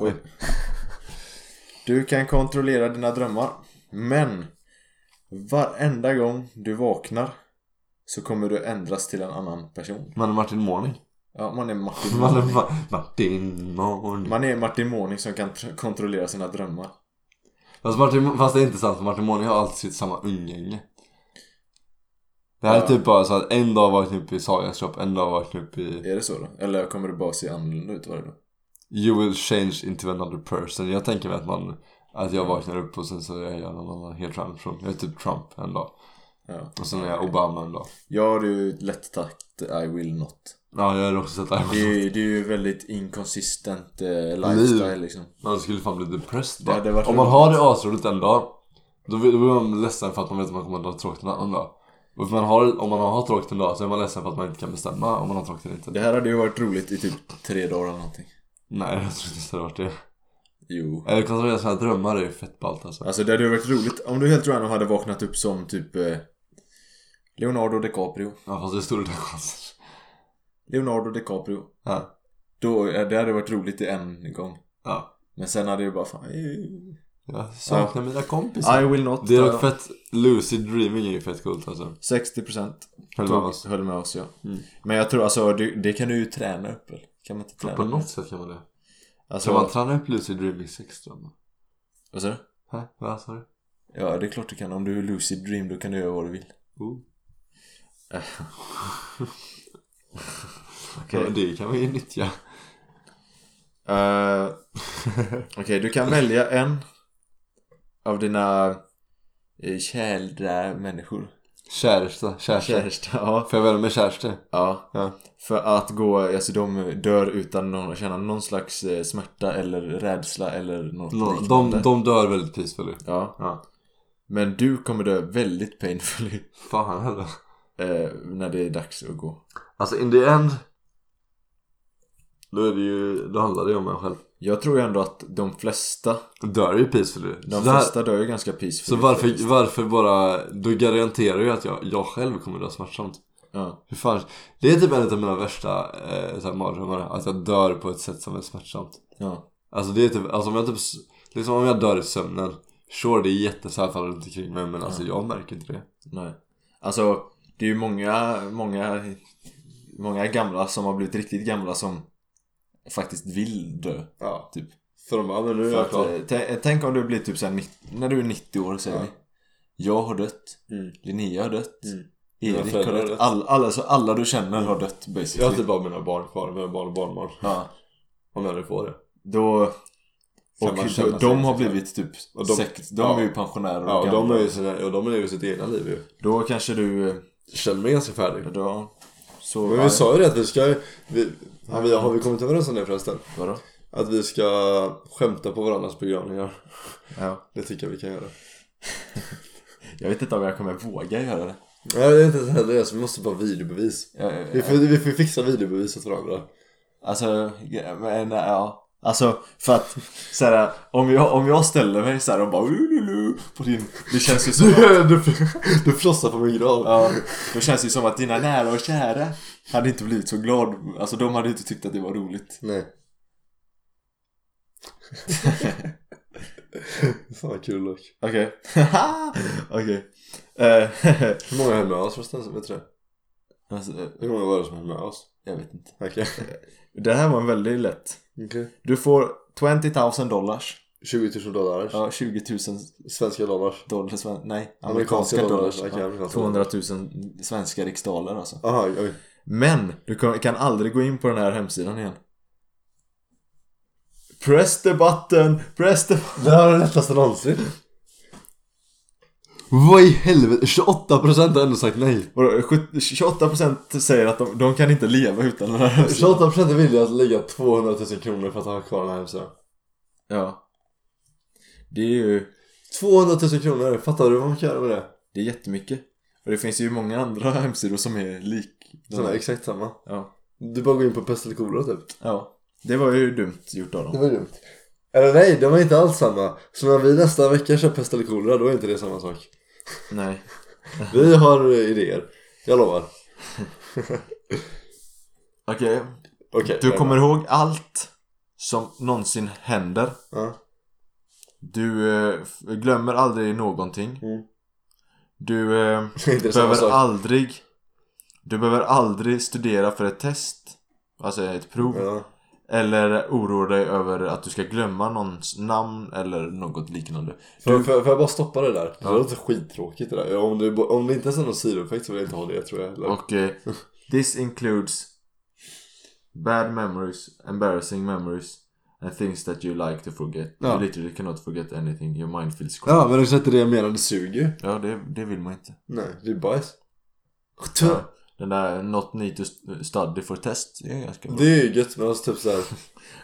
[SPEAKER 2] Oj. Du kan kontrollera dina drömmar. Men varenda gång du vaknar så kommer du ändras till en annan person.
[SPEAKER 1] Man är Martin Måning.
[SPEAKER 2] Ja, man är Martin
[SPEAKER 1] Man är
[SPEAKER 2] Måning.
[SPEAKER 1] Ma- Martin Måning.
[SPEAKER 2] Man är Martin Måning som kan tr- kontrollera sina drömmar.
[SPEAKER 1] Fast, Martin, fast det är inte sant för Martin Måning har alltid sitt samma umgänge. Det här är
[SPEAKER 2] Ja.
[SPEAKER 1] typ bara så att en dag vaknade jag upp i Sagas shop, en dag vaknade jag upp i
[SPEAKER 2] Är det så då? Eller kommer du bara se annorlunda ut varje dag?
[SPEAKER 1] You will change into another person. Jag tänker mig att man att jag vaknar upp och sen så är jag någon annan helt random person. Jag är typ Trump en dag.
[SPEAKER 2] Ja.
[SPEAKER 1] Och sen är jag Obama en dag.
[SPEAKER 2] Jag har ju lätt takt I will not.
[SPEAKER 1] Ja, jag hade också sett det
[SPEAKER 2] Det
[SPEAKER 1] här.
[SPEAKER 2] är, ju- det är ju väldigt inconsistent eh, lifestyle
[SPEAKER 1] Liv.
[SPEAKER 2] liksom.
[SPEAKER 1] Man skulle fan bli depressed
[SPEAKER 2] Det hade
[SPEAKER 1] bara.
[SPEAKER 2] varit
[SPEAKER 1] Om man har det asroligt en dag. Då blir då blir man ledsen för att man vet att man kommer att ha tråkigt en annan dag. Och för man har, om man har tråkigt en dag så är man ledsen för att man inte kan bestämma om man har tråkigt eller inte.
[SPEAKER 2] Det här hade ju varit roligt i typ tre dagar eller någonting.
[SPEAKER 1] Nej, jag tror inte det hade varit det.
[SPEAKER 2] Jo.
[SPEAKER 1] Eller kontrollera sina drömmar är ju fett ballt alltså.
[SPEAKER 2] Alltså det hade ju varit roligt om du helt random hade vaknat upp som typ eh, Leonardo DiCaprio.
[SPEAKER 1] Ja, fast det är stor del chanser.
[SPEAKER 2] Leonardo DiCaprio.
[SPEAKER 1] Ja.
[SPEAKER 2] Då, eh, det hade varit roligt i en gång.
[SPEAKER 1] Ja.
[SPEAKER 2] Men sen hade ju bara fan... eh,
[SPEAKER 1] Jag saknar mina kompisar.
[SPEAKER 2] I will not.
[SPEAKER 1] Det är
[SPEAKER 2] eh,
[SPEAKER 1] dock fett, lucid dreaming är ju fett coolt alltså.
[SPEAKER 2] 60%
[SPEAKER 1] Höll med oss.
[SPEAKER 2] höll med oss ja.
[SPEAKER 1] Mm.
[SPEAKER 2] Men jag tror alltså det, det kan du ju träna upp eller? Kan man inte träna
[SPEAKER 1] På
[SPEAKER 2] upp?
[SPEAKER 1] något sätt kan man det.
[SPEAKER 2] Alltså,
[SPEAKER 1] Kan man träna upp lucid dreaming sexdrömmar?
[SPEAKER 2] vad sa du?
[SPEAKER 1] Hä? Vad sa du?
[SPEAKER 2] Ja, det är klart du kan. Om du är lucid dream då kan du göra vad du vill.
[SPEAKER 1] Oh.
[SPEAKER 2] Eh.
[SPEAKER 1] Ja, men det kan man ju nyttja.
[SPEAKER 2] Eh, Okej, du kan välja en av dina eh, kära människor.
[SPEAKER 1] Kärsta, kärsta.
[SPEAKER 2] Kärsta, ja.
[SPEAKER 1] Får jag välja med kärsta?
[SPEAKER 2] ja.
[SPEAKER 1] Ja.
[SPEAKER 2] För att gå, alltså de dör utan någon, känna någon slags eh, smärta eller rädsla eller något
[SPEAKER 1] Nå, de,
[SPEAKER 2] liknande.
[SPEAKER 1] de dör väldigt peacefully.
[SPEAKER 2] Ja.
[SPEAKER 1] Ja.
[SPEAKER 2] Men du kommer dö väldigt painfully
[SPEAKER 1] Fan heller.
[SPEAKER 2] eh, när det är dags att gå.
[SPEAKER 1] Alltså in the end. Då är det ju, då handlar det ju om en själv.
[SPEAKER 2] Jag tror ju ändå att de flesta,
[SPEAKER 1] Dör ju peacefully.
[SPEAKER 2] de
[SPEAKER 1] så, det här,
[SPEAKER 2] flesta dör ju ganska peacefully.
[SPEAKER 1] så varför,
[SPEAKER 2] faktiskt.
[SPEAKER 1] varför bara, då garanterar ju att jag, jag själv kommer dö smärtsamt.
[SPEAKER 2] Ja.
[SPEAKER 1] Hur fan, det är typ en av mina värsta eh, så här mardrömmar, att jag dör på ett sätt som är smärtsamt.
[SPEAKER 2] ja.
[SPEAKER 1] Alltså det är typ, alltså om jag typ, s- liksom om jag dör i sömnen Sure det är jättesärfall runt omkring mig men alltså jag märker inte det
[SPEAKER 2] Nej. Alltså, det är ju många, många, många gamla som har blivit riktigt gamla som faktiskt vill dö.
[SPEAKER 1] Ja
[SPEAKER 2] Typ.
[SPEAKER 1] För de bara, men nu är
[SPEAKER 2] För
[SPEAKER 1] jag
[SPEAKER 2] att,
[SPEAKER 1] klar
[SPEAKER 2] eh, tä- tänk om du blir typ såhär, nitt- när du är 90 år säger
[SPEAKER 1] Ja.
[SPEAKER 2] vi. Jag har dött.
[SPEAKER 1] Mm.
[SPEAKER 2] Linnea har dött.
[SPEAKER 1] Mm. Mina
[SPEAKER 2] Erik har
[SPEAKER 1] föräldrar har
[SPEAKER 2] dött.
[SPEAKER 1] dött.
[SPEAKER 2] All, alla, så alla du känner har dött
[SPEAKER 1] Jag har
[SPEAKER 2] basically.
[SPEAKER 1] typ bara mina barn kvar, mina barn och barnbarn
[SPEAKER 2] Ja.
[SPEAKER 1] Om jag nu får det
[SPEAKER 2] Då...
[SPEAKER 1] Kan
[SPEAKER 2] Och
[SPEAKER 1] man
[SPEAKER 2] de,
[SPEAKER 1] känna sig
[SPEAKER 2] de har
[SPEAKER 1] sig själv.
[SPEAKER 2] blivit typ
[SPEAKER 1] liksom. Och de-
[SPEAKER 2] sex, de
[SPEAKER 1] ja.
[SPEAKER 2] är ju pensionärer och
[SPEAKER 1] Ja och de
[SPEAKER 2] gamla.
[SPEAKER 1] är ju sina, och de är ju sitt egna liv ju
[SPEAKER 2] Då kanske du... eh,
[SPEAKER 1] Känner mig ganska färdig
[SPEAKER 2] Då, så,
[SPEAKER 1] Men vi sa ju det att vi ska, vi, har, vi, har vi kommit överens om det förresten?
[SPEAKER 2] Vadå?
[SPEAKER 1] Att vi ska skämta på varandras begravningar
[SPEAKER 2] Ja.
[SPEAKER 1] Det tycker jag vi kan göra
[SPEAKER 2] Jag vet inte om jag kommer våga göra det.
[SPEAKER 1] Nej det är inte ens heller det, så vi måste bara ha videobevis
[SPEAKER 2] Jag, jag,
[SPEAKER 1] vi får, vi får fixa videobevis åt varandra
[SPEAKER 2] Alltså, ja, men ja. Alltså, för att såhär, om jag, om jag ställer mig såhär och bara "Ululu" på din, det känns ju som att,
[SPEAKER 1] du, du flossar på min grav.
[SPEAKER 2] ja, då känns det ju som att dina nära och kära hade inte blivit så glad, alltså de hade inte tyckt att det var roligt.
[SPEAKER 1] Nej. Fan vad kul dock.
[SPEAKER 2] Okej. Okej. Eh,
[SPEAKER 1] Hur många höll med oss förresten? Vet du det?
[SPEAKER 2] alltså, eh,
[SPEAKER 1] Hur många var det som höll med oss?
[SPEAKER 2] jag vet inte.
[SPEAKER 1] Okej.
[SPEAKER 2] Det här var en väldigt lätt. Du får 20 000 dollars.
[SPEAKER 1] 20 000 dollar.
[SPEAKER 2] Ja, 20 000
[SPEAKER 1] Svenska dollar.
[SPEAKER 2] dollar, sven- nej,
[SPEAKER 1] Amerikanska
[SPEAKER 2] amerikanska,
[SPEAKER 1] dollar,
[SPEAKER 2] dollar.
[SPEAKER 1] okej,
[SPEAKER 2] ja.
[SPEAKER 1] amerikanska
[SPEAKER 2] 200 000 svenska riksdaler alltså.
[SPEAKER 1] Aha, oj.
[SPEAKER 2] Men du kan kan aldrig gå in på den här hemsidan igen. Press the button, press the button.
[SPEAKER 1] Det här var det lättaste någonsin. Vad i helvete? 28% har ändå sagt nej.
[SPEAKER 2] Vadå, 70 28% säger att de, de kan inte leva utan den här hemsidan.
[SPEAKER 1] 28% är villiga att lägga 200 000 kronor för att ha kvar den här hemsidan.
[SPEAKER 2] Ja. Det är ju
[SPEAKER 1] 200 000 kronor, fattar du vad man kan göra med det?
[SPEAKER 2] det är jättemycket. Och det finns ju många andra hemsidor som är lik.
[SPEAKER 1] Sådana här, exakt samma.
[SPEAKER 2] Ja.
[SPEAKER 1] Du bara går in på pest eller kolera typ.
[SPEAKER 2] ja. Det var ju dumt gjort av
[SPEAKER 1] Det
[SPEAKER 2] dem.
[SPEAKER 1] var dumt. Eller nej, de är inte alls samma. Så när vi nästa vecka kör pest eller kolera, då är inte det samma sak.
[SPEAKER 2] Nej.
[SPEAKER 1] Vi har eh, idéer. Jag lovar.
[SPEAKER 2] Okej.
[SPEAKER 1] Okej.
[SPEAKER 2] Du
[SPEAKER 1] där
[SPEAKER 2] kommer
[SPEAKER 1] var-
[SPEAKER 2] ihåg allt som någonsin händer.
[SPEAKER 1] Ja.
[SPEAKER 2] Du eh, f- glömmer aldrig någonting.
[SPEAKER 1] Mm.
[SPEAKER 2] Du eh,
[SPEAKER 1] Det är inte samma
[SPEAKER 2] behöver
[SPEAKER 1] sak.
[SPEAKER 2] aldrig Du behöver aldrig studera för ett test. Alltså ett prov.
[SPEAKER 1] Ja.
[SPEAKER 2] Eller oroa dig över att du ska glömma någons namn eller något liknande.
[SPEAKER 1] Får,
[SPEAKER 2] Du-
[SPEAKER 1] får, får jag bara stoppa det där?
[SPEAKER 2] Ja.
[SPEAKER 1] Det låter skittråkigt det där. Om det, om det inte ens är någon sidoeffekt så vill jag inte ha det tror jag. Eller?
[SPEAKER 2] Och eh, this includes bad memories, embarrassing memories and things that you like to forget.
[SPEAKER 1] Ja.
[SPEAKER 2] You literally cannot forget anything. Your mind feels cold.
[SPEAKER 1] Ja, men det är inte det jag menar. Det suger ju.
[SPEAKER 2] Ja, det, det vill man inte.
[SPEAKER 1] Nej, det är bajs.
[SPEAKER 2] Ja. Den där not need to study for test. Det är ganska bra.
[SPEAKER 1] Det är ju gött men alltså typ såhär.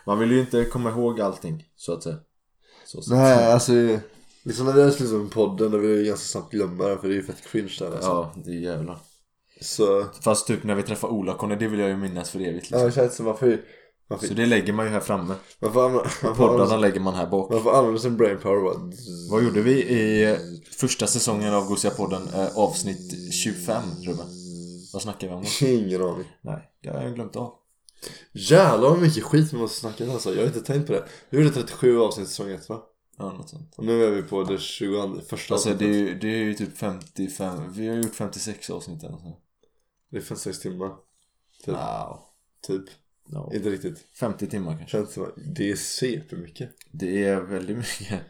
[SPEAKER 2] Man vill ju inte komma ihåg allting, så att säga. Så, så.
[SPEAKER 1] Nej, alltså. Liksom när vi har slutat med podden då vill jag ganska snabbt glömma den för det är ju fett cringe där alltså.
[SPEAKER 2] Ja, det är jävlar.
[SPEAKER 1] Så,
[SPEAKER 2] Fast typ när vi träffar Ola-Conny, det vill jag ju minnas för evigt
[SPEAKER 1] ja,
[SPEAKER 2] liksom.
[SPEAKER 1] det känns som man får ju, man får,
[SPEAKER 2] Så det lägger man ju här framme.
[SPEAKER 1] man får, använda, man får,
[SPEAKER 2] Poddarna
[SPEAKER 1] använda,
[SPEAKER 2] lägger man här bak.
[SPEAKER 1] man får använda sin brain power bara.
[SPEAKER 2] Vad gjorde vi i eh, första säsongen av Gosiga-podden? Eh, avsnitt 25, Ruben. Vad snackar vi om då?
[SPEAKER 1] Ingen aning.
[SPEAKER 2] Nej, det har jag glömt av.
[SPEAKER 1] Jävlar vad mycket skit vi måste snacka om, alltså. Jag har inte tänkt på det. Vi gjorde 37 avsnitt i säsong 1 va?
[SPEAKER 2] Ja, något sånt.
[SPEAKER 1] Och nu är vi på det 21 första
[SPEAKER 2] Alltså det är,
[SPEAKER 1] avsnittet.
[SPEAKER 2] ju, det är ju typ 55, vi har gjort 56 avsnitt eller så.
[SPEAKER 1] Det är 56 timmar. Typ.
[SPEAKER 2] Wow.
[SPEAKER 1] Typ.
[SPEAKER 2] No.
[SPEAKER 1] Inte riktigt.
[SPEAKER 2] 50 timmar kanske.
[SPEAKER 1] Känns som det är supermycket.
[SPEAKER 2] Det är väldigt mycket.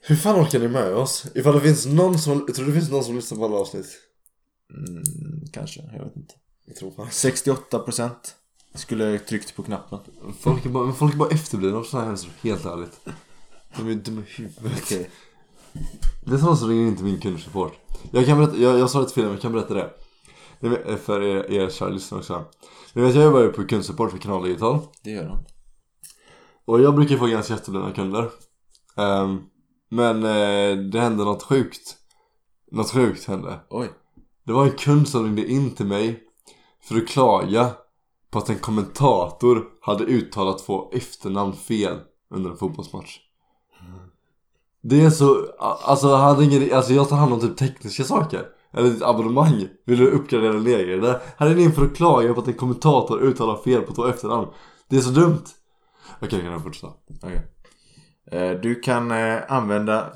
[SPEAKER 1] Hur fan orkar ni med oss? Ifall det finns någon som, jag tror det finns någon som lyssnar på alla avsnitt.
[SPEAKER 2] Mm, kanske, jag vet inte.
[SPEAKER 1] Jag tror fan.
[SPEAKER 2] 68% skulle jag tryckt på knappen.
[SPEAKER 1] Folk är bara, men folk är bara efterblivna av sådana här hemsidor, helt ärligt. De är dumma i huvudet.
[SPEAKER 2] Okej.
[SPEAKER 1] Det är sådana som ringer in till min kundsupport. Jag kan berätta, jag, jag sa det till Filip, jag kan berätta det. det är för er, er kära lyssnare också. Ni vet, jag jobbar ju på kundsupport för Kanal Digital.
[SPEAKER 2] Det gör han.
[SPEAKER 1] Och jag brukar få ganska efterblivna kunder. Ehm, men eh, det hände något sjukt. Något sjukt hände.
[SPEAKER 2] Oj.
[SPEAKER 1] Det var en kund som ringde in till mig för att klaga på att en kommentator hade uttalat två efternamn fel under en fotbollsmatch. Det är så, a- alltså han ringer, alltså jag tar hand om typ tekniska saker. Eller ditt abonnemang. Vill du uppgradera eller lägre det? Han ringer in för att klaga på att en kommentator uttalar fel på två efternamn. Det är så dumt. Okej, kan jag fortsätta?
[SPEAKER 2] Okej. Eh, Du kan eh, använda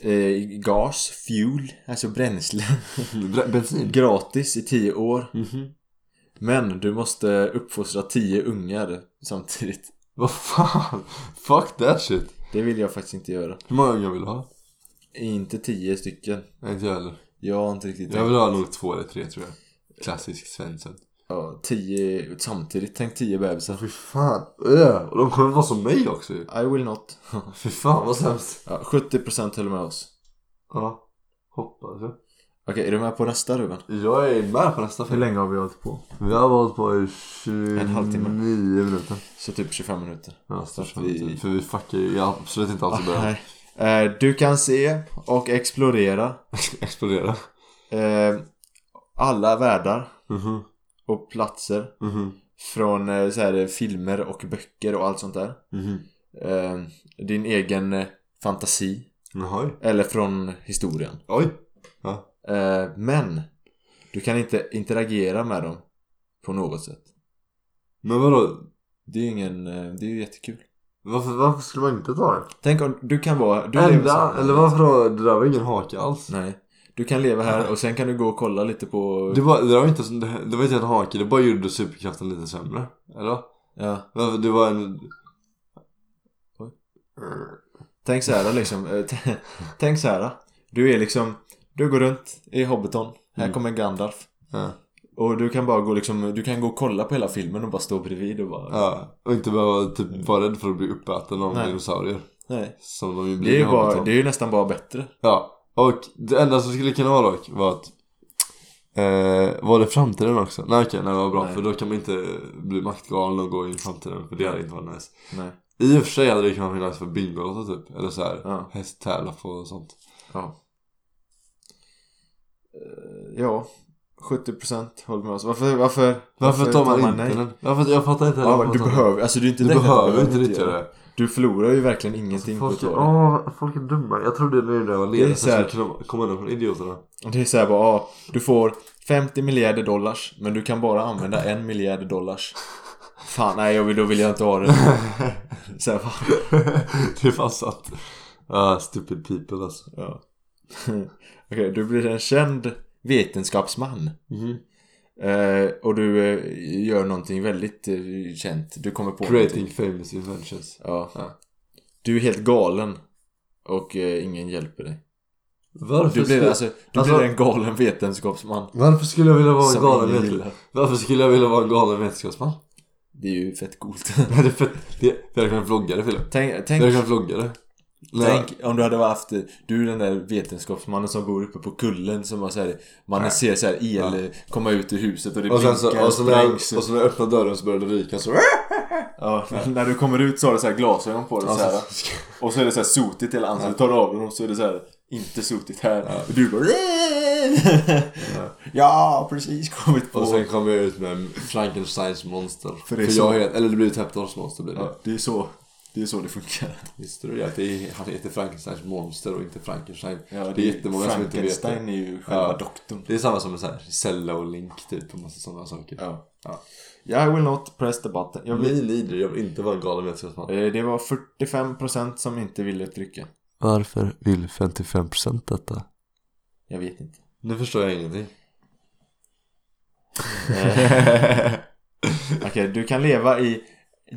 [SPEAKER 2] eh, gas, fuel, alltså bränsle,
[SPEAKER 1] Br- Bensin?
[SPEAKER 2] gratis i 10 år.
[SPEAKER 1] Mhm.
[SPEAKER 2] Men du måste uppfostra 10 ungar samtidigt.
[SPEAKER 1] Vad fan? Fuck that shit.
[SPEAKER 2] Det vill jag faktiskt inte göra.
[SPEAKER 1] Hur många ungar vill du ha?
[SPEAKER 2] Inte 10 stycken.
[SPEAKER 1] Nej, inte jag heller.
[SPEAKER 2] Jag har inte riktigt
[SPEAKER 1] Jag
[SPEAKER 2] tänkt.
[SPEAKER 1] vill ha nog två eller tre tror jag. Klassisk Svensson.
[SPEAKER 2] Ja, 10 samtidigt. Tänk 10 bebisar.
[SPEAKER 1] Fy fan. Ö, och de kommer vara som mig också ju.
[SPEAKER 2] I will not.
[SPEAKER 1] Fy fan vad sämst.
[SPEAKER 2] Ja, 70% höll med oss.
[SPEAKER 1] Ja. Hoppas jag.
[SPEAKER 2] Okej, är du med på nästa Ruben?
[SPEAKER 1] Jag är med på nästa film.
[SPEAKER 2] länge har vi hållit på?
[SPEAKER 1] Vi har hållit på i 29
[SPEAKER 2] En halvtimme.
[SPEAKER 1] minuter.
[SPEAKER 2] Så typ 25 minuter.
[SPEAKER 1] Ja, största
[SPEAKER 2] vi-
[SPEAKER 1] vi... För vi fuckar ju jag har absolut inte alls i början.
[SPEAKER 2] Nej. Eh, Du kan se och explorera
[SPEAKER 1] Explodera.
[SPEAKER 2] eh, alla världar
[SPEAKER 1] Mhm.
[SPEAKER 2] och platser
[SPEAKER 1] Mhm.
[SPEAKER 2] från eh, så här, filmer och böcker och allt sånt där.
[SPEAKER 1] Mhm.
[SPEAKER 2] Eh, Din egen eh, fantasi
[SPEAKER 1] Jaha. oj.
[SPEAKER 2] eller från historien.
[SPEAKER 1] Oj.
[SPEAKER 2] Eh, Men du kan inte interagera med dem på något sätt.
[SPEAKER 1] Men vadå?
[SPEAKER 2] Det är ingen, eh, det är ju jättekul.
[SPEAKER 1] Varför, varför skulle man inte ta det?
[SPEAKER 2] Tänk om du kan vara... Du lever
[SPEAKER 1] Ända,
[SPEAKER 2] så-
[SPEAKER 1] eller varför då? Det där var ingen hake alls.
[SPEAKER 2] Nej. Du kan leva här och sen kan du gå och kolla lite på...
[SPEAKER 1] Det var, det, där var inte, det det var inte en hake, det bara gjorde superkraften lite sämre. Eller?
[SPEAKER 2] Ja.
[SPEAKER 1] Varför det var en...
[SPEAKER 2] Oj. Tänk så här liksom. eh, t- Tänk så här. Du är liksom. Du går runt i Hobbiton. Här
[SPEAKER 1] Mm.
[SPEAKER 2] kommer Gandalf.
[SPEAKER 1] Ja.
[SPEAKER 2] Och du kan bara gå liksom. Du kan gå och kolla på hela filmen och bara stå bredvid och bara.
[SPEAKER 1] ja. Och inte behöva typ vara rädd för att bli uppäten av
[SPEAKER 2] Nej.
[SPEAKER 1] dinosaurier.
[SPEAKER 2] Nej.
[SPEAKER 1] Som de ju
[SPEAKER 2] Det är,
[SPEAKER 1] blir i
[SPEAKER 2] ju bara,
[SPEAKER 1] Hobbiton.
[SPEAKER 2] det är ju nästan bara bättre.
[SPEAKER 1] Ja. Och det enda som skulle kunna vara dock var att eh, Var det framtiden också? Nej okej, nej vad bra
[SPEAKER 2] Nej.
[SPEAKER 1] för då kan man inte bli maktgalen och gå in i framtiden för det hade inte varit nice
[SPEAKER 2] Nej.
[SPEAKER 1] I och för sig hade det kunnat vara nice för Bingolotto typ Eller så här,
[SPEAKER 2] Ja.
[SPEAKER 1] hästtävla på och sånt
[SPEAKER 2] Ja. Eh, Ja. 70% håller med oss. Varför, varför,
[SPEAKER 1] Varför, tar man, inte
[SPEAKER 2] nej?
[SPEAKER 1] den? Varför, jag fattar inte
[SPEAKER 2] Ja,
[SPEAKER 1] heller
[SPEAKER 2] men
[SPEAKER 1] varför
[SPEAKER 2] du
[SPEAKER 1] man tar
[SPEAKER 2] behöver, alltså du är inte
[SPEAKER 1] den. Du
[SPEAKER 2] nöjd,
[SPEAKER 1] behöver inte nyttja det
[SPEAKER 2] Du förlorar ju verkligen ingenting på
[SPEAKER 1] Folk är,
[SPEAKER 2] ett år.
[SPEAKER 1] åh, folk är dumma, jag trodde nu när jag var
[SPEAKER 2] Det
[SPEAKER 1] ledig
[SPEAKER 2] är
[SPEAKER 1] så
[SPEAKER 2] så här-
[SPEAKER 1] jag skulle kunna komma undan från idioterna
[SPEAKER 2] Det är såhär bara, ja, du får 50 miljarder dollars men du kan bara använda en miljard dollars. Fan, nej jag vill, då vill jag inte ha det. Så här, fan.
[SPEAKER 1] Det är fan sant Ah, stupid people alltså
[SPEAKER 2] Ja. Okej, du blir en känd vetenskapsman.
[SPEAKER 1] Mhm.
[SPEAKER 2] Eh, och du eh, gör någonting väldigt eh, känt. Du kommer på
[SPEAKER 1] Creating famous inventions
[SPEAKER 2] någonting. Ja.
[SPEAKER 1] Ja.
[SPEAKER 2] Du är helt galen. Och eh, ingen hjälper dig.
[SPEAKER 1] Varför
[SPEAKER 2] Du blir,
[SPEAKER 1] skulle-
[SPEAKER 2] alltså, du
[SPEAKER 1] alltså-
[SPEAKER 2] blir en galen vetenskapsman.
[SPEAKER 1] Varför skulle jag vilja vara en
[SPEAKER 2] Som
[SPEAKER 1] galen
[SPEAKER 2] ingen
[SPEAKER 1] vetenskapsman?
[SPEAKER 2] gillar.
[SPEAKER 1] Varför skulle jag vilja vara en galen vetenskapsman?
[SPEAKER 2] Det är ju fett coolt.
[SPEAKER 1] Det är för att det- vi hade kunnat vlogga det Filip.
[SPEAKER 2] tänk,
[SPEAKER 1] Vi
[SPEAKER 2] tänk,
[SPEAKER 1] hade kunnat vlogga det. Nej,
[SPEAKER 2] tänk om du hade haft, du är den där vetenskapsmannen som bor uppe på kullen som har så här, man ser så här el komma ut ur huset och det
[SPEAKER 1] och sen
[SPEAKER 2] blinkar
[SPEAKER 1] så, och så, när jag,
[SPEAKER 2] sprängs.
[SPEAKER 1] och så när jag öppnade dörren så började det ryka så.
[SPEAKER 2] Ja, när du kommer ut så har du så här glasögon på dig så här. Och så är det så här sotigt i hela ansiktet. Du tar av dem och så är det så här inte sotigt här. Och du bara Ja, precis kommit på.
[SPEAKER 1] Och sen kom jag ut med Frankensteins monster. För,
[SPEAKER 2] det är så-
[SPEAKER 1] jag heter, eller det blir Teptors monster blir det.
[SPEAKER 2] ja, det är så. Det är så det funkar.
[SPEAKER 1] Visste du det? Att det är, han heter Frankensteins monster och inte Frankenstein.
[SPEAKER 2] Ja,
[SPEAKER 1] det, är jättemånga som inte vet det.
[SPEAKER 2] Frankenstein är ju själva
[SPEAKER 1] Ja.
[SPEAKER 2] doktorn.
[SPEAKER 1] Det är samma som med så här Cella och Link typ och massa sådana saker.
[SPEAKER 2] Ja.
[SPEAKER 1] Ja.
[SPEAKER 2] Yeah, I will not press the button. Jag vill...
[SPEAKER 1] Min idé, jag vill inte vara en galen vetenskapsman.
[SPEAKER 2] Eh, Det var 45% som inte ville trycka.
[SPEAKER 1] Varför vill 55% detta?
[SPEAKER 2] Jag vet inte.
[SPEAKER 1] Nu förstår jag ingenting.
[SPEAKER 2] Eh, Okej, du kan leva i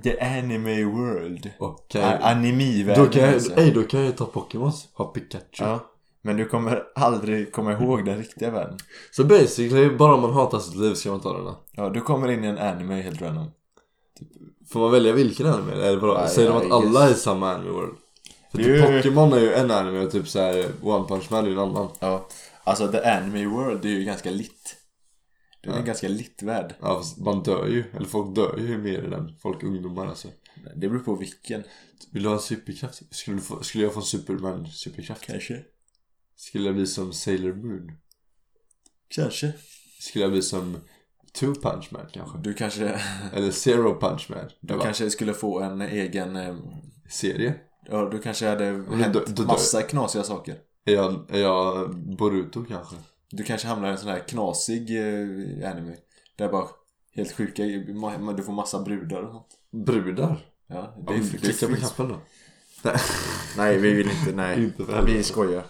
[SPEAKER 2] the anime world.
[SPEAKER 1] Och kan
[SPEAKER 2] A-
[SPEAKER 1] jag, då, kan
[SPEAKER 2] Animivärlden
[SPEAKER 1] jag,
[SPEAKER 2] alltså.
[SPEAKER 1] ej, då kan jag ju ta Pokémons, ha Pikachu.
[SPEAKER 2] Ja. Men du kommer aldrig komma ihåg den riktiga världen.
[SPEAKER 1] Så basically, bara om man hatar sitt liv ska man ta den här.
[SPEAKER 2] Ja, du kommer in i en anime helt random.
[SPEAKER 1] Får man välja vilken anime? Eller är det bara,
[SPEAKER 2] Nej,
[SPEAKER 1] säger de
[SPEAKER 2] I
[SPEAKER 1] att alla är
[SPEAKER 2] guess.
[SPEAKER 1] samma anime world? För
[SPEAKER 2] Det är
[SPEAKER 1] typ
[SPEAKER 2] ju-
[SPEAKER 1] Pokémon är ju en anime och typ såhär One Punch Man är ju en annan.
[SPEAKER 2] Ja. Alltså the anime world, det är ju ganska lit. Det är en ganska lit värld.
[SPEAKER 1] Ja fast man dör ju, eller folk dör ju mer i den. Folk ungdomar alltså.
[SPEAKER 2] Det beror på vilken.
[SPEAKER 1] Vill du ha en superkraft? Skulle, du få, skulle jag få en Superman superkraft?
[SPEAKER 2] Kanske.
[SPEAKER 1] Skulle jag bli som Sailor Moon?
[SPEAKER 2] Kanske.
[SPEAKER 1] Skulle jag bli som Two Punch Man kanske?
[SPEAKER 2] Du kanske,
[SPEAKER 1] Eller Zero Punch Man?
[SPEAKER 2] Mm. du
[SPEAKER 1] Eller
[SPEAKER 2] kanske skulle få en egen... eh,
[SPEAKER 1] Serie?
[SPEAKER 2] Ja, du kanske hade
[SPEAKER 1] du dö-
[SPEAKER 2] hänt
[SPEAKER 1] då dör-
[SPEAKER 2] massa knasiga saker.
[SPEAKER 1] Är jag, är jag Boruto kanske?
[SPEAKER 2] Du kanske hamnar i en sån här knasig eh, anime. Där bara helt sjuka, ma- du får massa brudar och sånt.
[SPEAKER 1] Brudar?
[SPEAKER 2] Ja,
[SPEAKER 1] Ja,
[SPEAKER 2] det,
[SPEAKER 1] men
[SPEAKER 2] det
[SPEAKER 1] klicka på
[SPEAKER 2] finns
[SPEAKER 1] knappen då.
[SPEAKER 2] Nej, vi vill inte. Nej.
[SPEAKER 1] Inte för helvete.
[SPEAKER 2] vi skojar.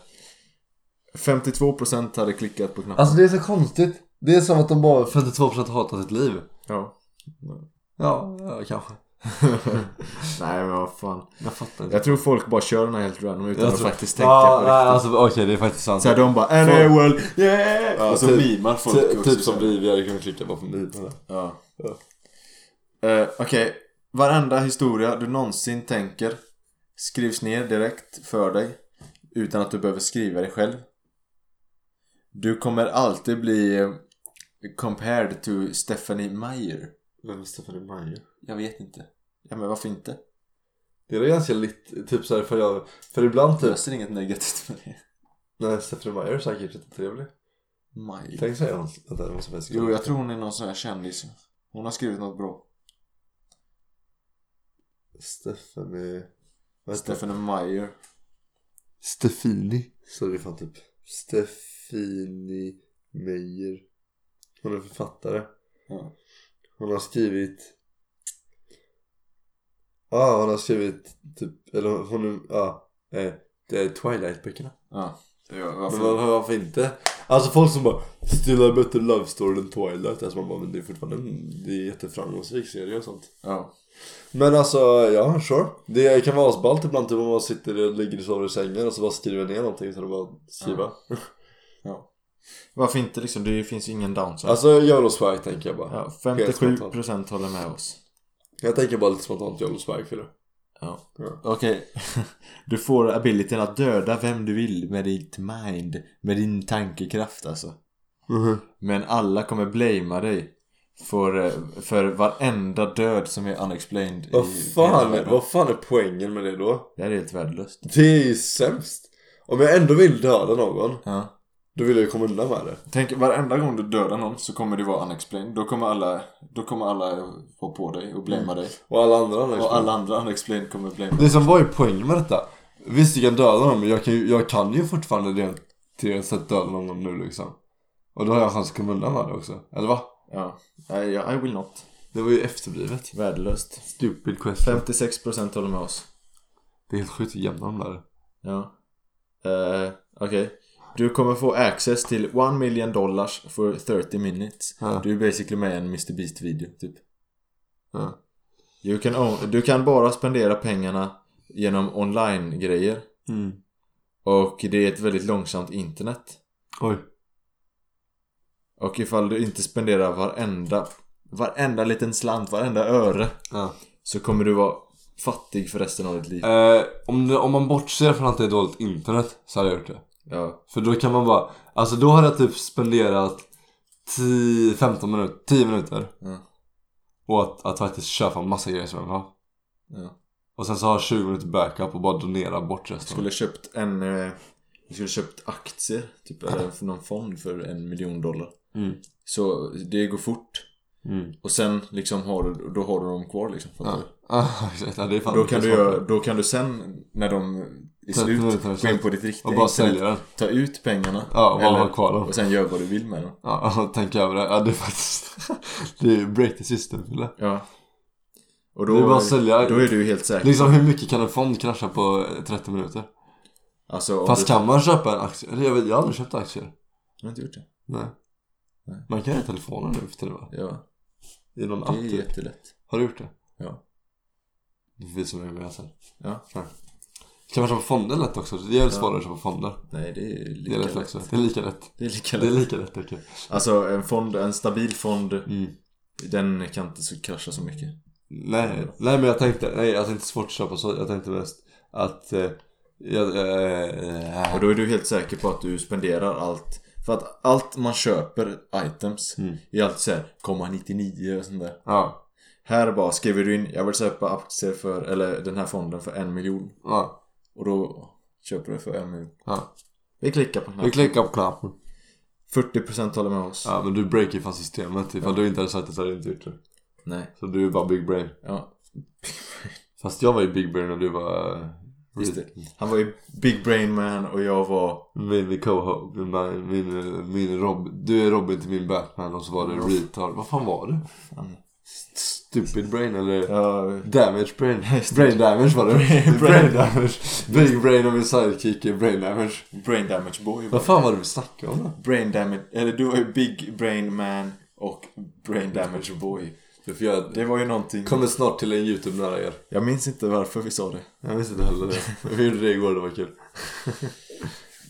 [SPEAKER 2] 52% hade klickat på knappen.
[SPEAKER 1] Alltså det är så konstigt. Det är som att de bara 52% hatar sitt liv.
[SPEAKER 2] Ja.
[SPEAKER 1] Ja, ja kanske.
[SPEAKER 2] nej, men vad fan.
[SPEAKER 1] Jag fattar inte.
[SPEAKER 2] Jag tror folk bara kör den här helt random utan
[SPEAKER 1] Jag
[SPEAKER 2] att
[SPEAKER 1] tror-
[SPEAKER 2] faktiskt tänka
[SPEAKER 1] Ja,
[SPEAKER 2] på
[SPEAKER 1] nej,
[SPEAKER 2] det.
[SPEAKER 1] alltså okej det är faktiskt sant.
[SPEAKER 2] Så här, de bara Anna world, yeah!
[SPEAKER 1] Ja,
[SPEAKER 2] och så
[SPEAKER 1] typ-
[SPEAKER 2] mimar folk
[SPEAKER 1] Ty-
[SPEAKER 2] också,
[SPEAKER 1] typ
[SPEAKER 2] så
[SPEAKER 1] som
[SPEAKER 2] här.
[SPEAKER 1] vi, vi hade kunnat klicka bara på milen.
[SPEAKER 2] Ja.
[SPEAKER 1] Ja.
[SPEAKER 2] Eh, Okej, varenda historia du någonsin tänker skrivs ner direkt för dig utan att du behöver skriva det själv. Du kommer alltid bli eh, compared to Stephanie Meyer.
[SPEAKER 1] Vem är Stephanie Meyer?
[SPEAKER 2] Jag vet inte. Ja, men varför inte?
[SPEAKER 1] Det är ganska lite, typ såhär för jag, för ibland
[SPEAKER 2] Jag
[SPEAKER 1] typ,
[SPEAKER 2] löser inget negativt med det.
[SPEAKER 1] nej Stephanie Meyer är säkert jättetrevlig.
[SPEAKER 2] Meyer.
[SPEAKER 1] Tänk såhär, vänta jag måste faktiskt
[SPEAKER 2] Jo, jag tror hon är någon sån här kändis. Hon har skrivit något bra.
[SPEAKER 1] Stephanie... Vänta.
[SPEAKER 2] Stephanie Meyer.
[SPEAKER 1] Stefini. Så det är fan typ Stefini Meyer. Hon är författare.
[SPEAKER 2] Ja.
[SPEAKER 1] Hon har skrivit Ja ah, hon har skrivit typ Eller hon ja eh, Det är Twilight-böckerna
[SPEAKER 2] Ja. Ja,
[SPEAKER 1] Men
[SPEAKER 2] varför?
[SPEAKER 1] varför, varför inte? Alltså folk som bara Still a better love story than Twilight Alltså man bara men det är fortfarande en Det är en jätteframgångsrik serie och sånt
[SPEAKER 2] Ja.
[SPEAKER 1] Men alltså ja sure Det kan vara asballt ibland typ om man sitter och ligger och sover i sängen Och så bara skriver ner någonting så det bara skriva
[SPEAKER 2] Ja. Varför inte liksom? Det finns ju ingen downside.
[SPEAKER 1] Alltså YOLO swag tänker jag bara
[SPEAKER 2] ja,
[SPEAKER 1] helt spontant.
[SPEAKER 2] 57% håller med oss.
[SPEAKER 1] Jag tänker bara lite spontant YOLO swag för det
[SPEAKER 2] Ja.
[SPEAKER 1] Ja.
[SPEAKER 2] Okej. Du får abilityn att döda vem du vill med ditt mind. Med din tankekraft alltså. Men alla kommer blamea dig. För, eh, för varenda död som är unexplained
[SPEAKER 1] Vad
[SPEAKER 2] hela
[SPEAKER 1] fan,
[SPEAKER 2] världen.
[SPEAKER 1] vad fan är poängen med det då?
[SPEAKER 2] Det här är helt värdelöst.
[SPEAKER 1] Det är ju sämst. Om jag ändå vill döda någon,
[SPEAKER 2] Ja.
[SPEAKER 1] då vill jag ju komma undan med det.
[SPEAKER 2] Tänk varenda gång du dödar någon så kommer det vara unexplained. Då kommer alla, då kommer alla vara på dig och blamea dig.
[SPEAKER 1] Och alla andra annars.
[SPEAKER 2] Och alla andra unexplained kommer blamea dig.
[SPEAKER 1] Det som var ju poängen med detta. Visst, jag kan döda dem, men jag kan ju, jag kan ju fortfarande rent teoretiskt sett döda någon nu liksom. Och då har jag en chans att komma undan med det också. Eller va?
[SPEAKER 2] Ja. Nej, jag- I will not.
[SPEAKER 1] Det var ju efterblivet.
[SPEAKER 2] Värdelöst.
[SPEAKER 1] Stupid question.
[SPEAKER 2] 56% håller med oss.
[SPEAKER 1] Det är helt sjukt hur jämna de där är.
[SPEAKER 2] Ja. Eh, Okej. Du kommer få access till 1 million dollars for 30 minutes.
[SPEAKER 1] Ja.
[SPEAKER 2] Du är basically med i en Mr Beast-video, typ.
[SPEAKER 1] Ja.
[SPEAKER 2] You can own, du kan bara spendera pengarna genom online-grejer.
[SPEAKER 1] Mm.
[SPEAKER 2] Och det är ett väldigt långsamt internet.
[SPEAKER 1] Oj.
[SPEAKER 2] Och ifall du inte spenderar varenda Varenda liten slant, varenda öre
[SPEAKER 1] Ja.
[SPEAKER 2] Så kommer du vara fattig för resten av ditt liv
[SPEAKER 1] Eh, om, det, om man bortser från att det är dåligt internet så hade jag gjort det.
[SPEAKER 2] Ja,
[SPEAKER 1] För då kan man bara, alltså då har jag typ spenderat 10, 15 minuter, 10 minuter.
[SPEAKER 2] Ja.
[SPEAKER 1] Och att, att faktiskt köpa massa grejer som jag vill ha.
[SPEAKER 2] ja.
[SPEAKER 1] Och sen så har jag 20 minuter backup och bara donera bort
[SPEAKER 2] Jag
[SPEAKER 1] resten.
[SPEAKER 2] skulle köpt en eh, Jag skulle köpt aktier Typ eller för någon fond för en miljon dollar
[SPEAKER 1] Mm.
[SPEAKER 2] Så det går fort
[SPEAKER 1] Mm.
[SPEAKER 2] Och sen liksom har du, då har du dem kvar liksom fattar
[SPEAKER 1] Ja.
[SPEAKER 2] du?
[SPEAKER 1] Ah, exakt. Ja, det är fan
[SPEAKER 2] Då kan du
[SPEAKER 1] mycket
[SPEAKER 2] göra,
[SPEAKER 1] smartare.
[SPEAKER 2] då kan du sen när de är
[SPEAKER 1] 30
[SPEAKER 2] slut
[SPEAKER 1] minuter är
[SPEAKER 2] gå in
[SPEAKER 1] slut.
[SPEAKER 2] på ditt riktiga
[SPEAKER 1] Och bara
[SPEAKER 2] internet,
[SPEAKER 1] sälja den.
[SPEAKER 2] Ta ut pengarna
[SPEAKER 1] Ja, och bara
[SPEAKER 2] eller-
[SPEAKER 1] ha kvar dem.
[SPEAKER 2] Och sen gör vad du vill med dem
[SPEAKER 1] Ja, och tänka över det. Ja, det är faktiskt... det är ju break the system, eller?
[SPEAKER 2] Ja Och
[SPEAKER 1] Det är
[SPEAKER 2] då,
[SPEAKER 1] bara att sälja.
[SPEAKER 2] då är du helt säker
[SPEAKER 1] Liksom hur mycket kan en fond krascha på eh, 30 minuter?
[SPEAKER 2] Alltså, om
[SPEAKER 1] Fast
[SPEAKER 2] du...
[SPEAKER 1] kan man köpa en aktie? Eller jag, vet, jag har aldrig köpt aktier.
[SPEAKER 2] Jag har inte gjort det.
[SPEAKER 1] Nej.
[SPEAKER 2] Nej.
[SPEAKER 1] Man kan göra i telefonen nu för tiden va?
[SPEAKER 2] Ja,
[SPEAKER 1] I någon
[SPEAKER 2] det
[SPEAKER 1] app
[SPEAKER 2] är
[SPEAKER 1] typ.
[SPEAKER 2] jättelätt.
[SPEAKER 1] Har du gjort det?
[SPEAKER 2] Ja.
[SPEAKER 1] Det finns som är med sen.
[SPEAKER 2] Ja.
[SPEAKER 1] Kan man köpa fonder lätt också? Det är väl
[SPEAKER 2] Ja.
[SPEAKER 1] svårare att köpa fonder.
[SPEAKER 2] Nej, det är
[SPEAKER 1] Det är
[SPEAKER 2] lika
[SPEAKER 1] lätt
[SPEAKER 2] lätt.
[SPEAKER 1] också. Det är lika lätt.
[SPEAKER 2] Det är lika
[SPEAKER 1] Det är
[SPEAKER 2] lätt.
[SPEAKER 1] lika lätt okej.
[SPEAKER 2] Alltså, en fond, en stabil fond,
[SPEAKER 1] Mm.
[SPEAKER 2] den kan inte så krascha så mycket.
[SPEAKER 1] Nej, nej men jag tänkte, nej alltså inte svårt att köpa så. Jag tänkte mest att eh, jag, eh,
[SPEAKER 2] Och då är du helt säker på att du spenderar allt. För att allt man köper, items,
[SPEAKER 1] Mm.
[SPEAKER 2] är alltid såhär, komma 99 och sånt där.
[SPEAKER 1] ja,
[SPEAKER 2] Här bara skriver du in, jag vill köpa aktier för, eller den här fonden för en miljon.
[SPEAKER 1] ja,
[SPEAKER 2] Och då köper du för en miljon.
[SPEAKER 1] ja.
[SPEAKER 2] Vi klickar på
[SPEAKER 1] Vi
[SPEAKER 2] knappen.
[SPEAKER 1] klickar på knappen.
[SPEAKER 2] 40% håller med oss.
[SPEAKER 1] Ja men du breakar fan systemet. Ifall du inte hade sagt det så hade du inte gjort det.
[SPEAKER 2] Nej.
[SPEAKER 1] Så du är bara big brain.
[SPEAKER 2] Ja,
[SPEAKER 1] Fast jag var ju big brain och du var... eh,
[SPEAKER 2] Just det. Han var ju Big Brain Man och jag var...
[SPEAKER 1] Min, min co min, min, min Rob, du är Robin till min Batman och så var det retard. Vad fan var du?
[SPEAKER 2] Fan.
[SPEAKER 1] Stupid brain eller?
[SPEAKER 2] Ja,
[SPEAKER 1] Damage brain.
[SPEAKER 2] just det.
[SPEAKER 1] Brain damage var det.
[SPEAKER 2] Brain-
[SPEAKER 1] brain damage. Big brain och min sidekick är brain damage.
[SPEAKER 2] brain Damage Boy.
[SPEAKER 1] Vad
[SPEAKER 2] Var
[SPEAKER 1] fan var det vi snackade om då?
[SPEAKER 2] brain Damage... Eller du var ju Big Brain Man och Brain Damage Boy.
[SPEAKER 1] Du får göra det.
[SPEAKER 2] Det var ju någonting...
[SPEAKER 1] Kommer snart till en YouTube nära er.
[SPEAKER 2] Jag minns inte varför vi sa det.
[SPEAKER 1] Jag visste inte heller det. Vi gjorde det igår, det var kul.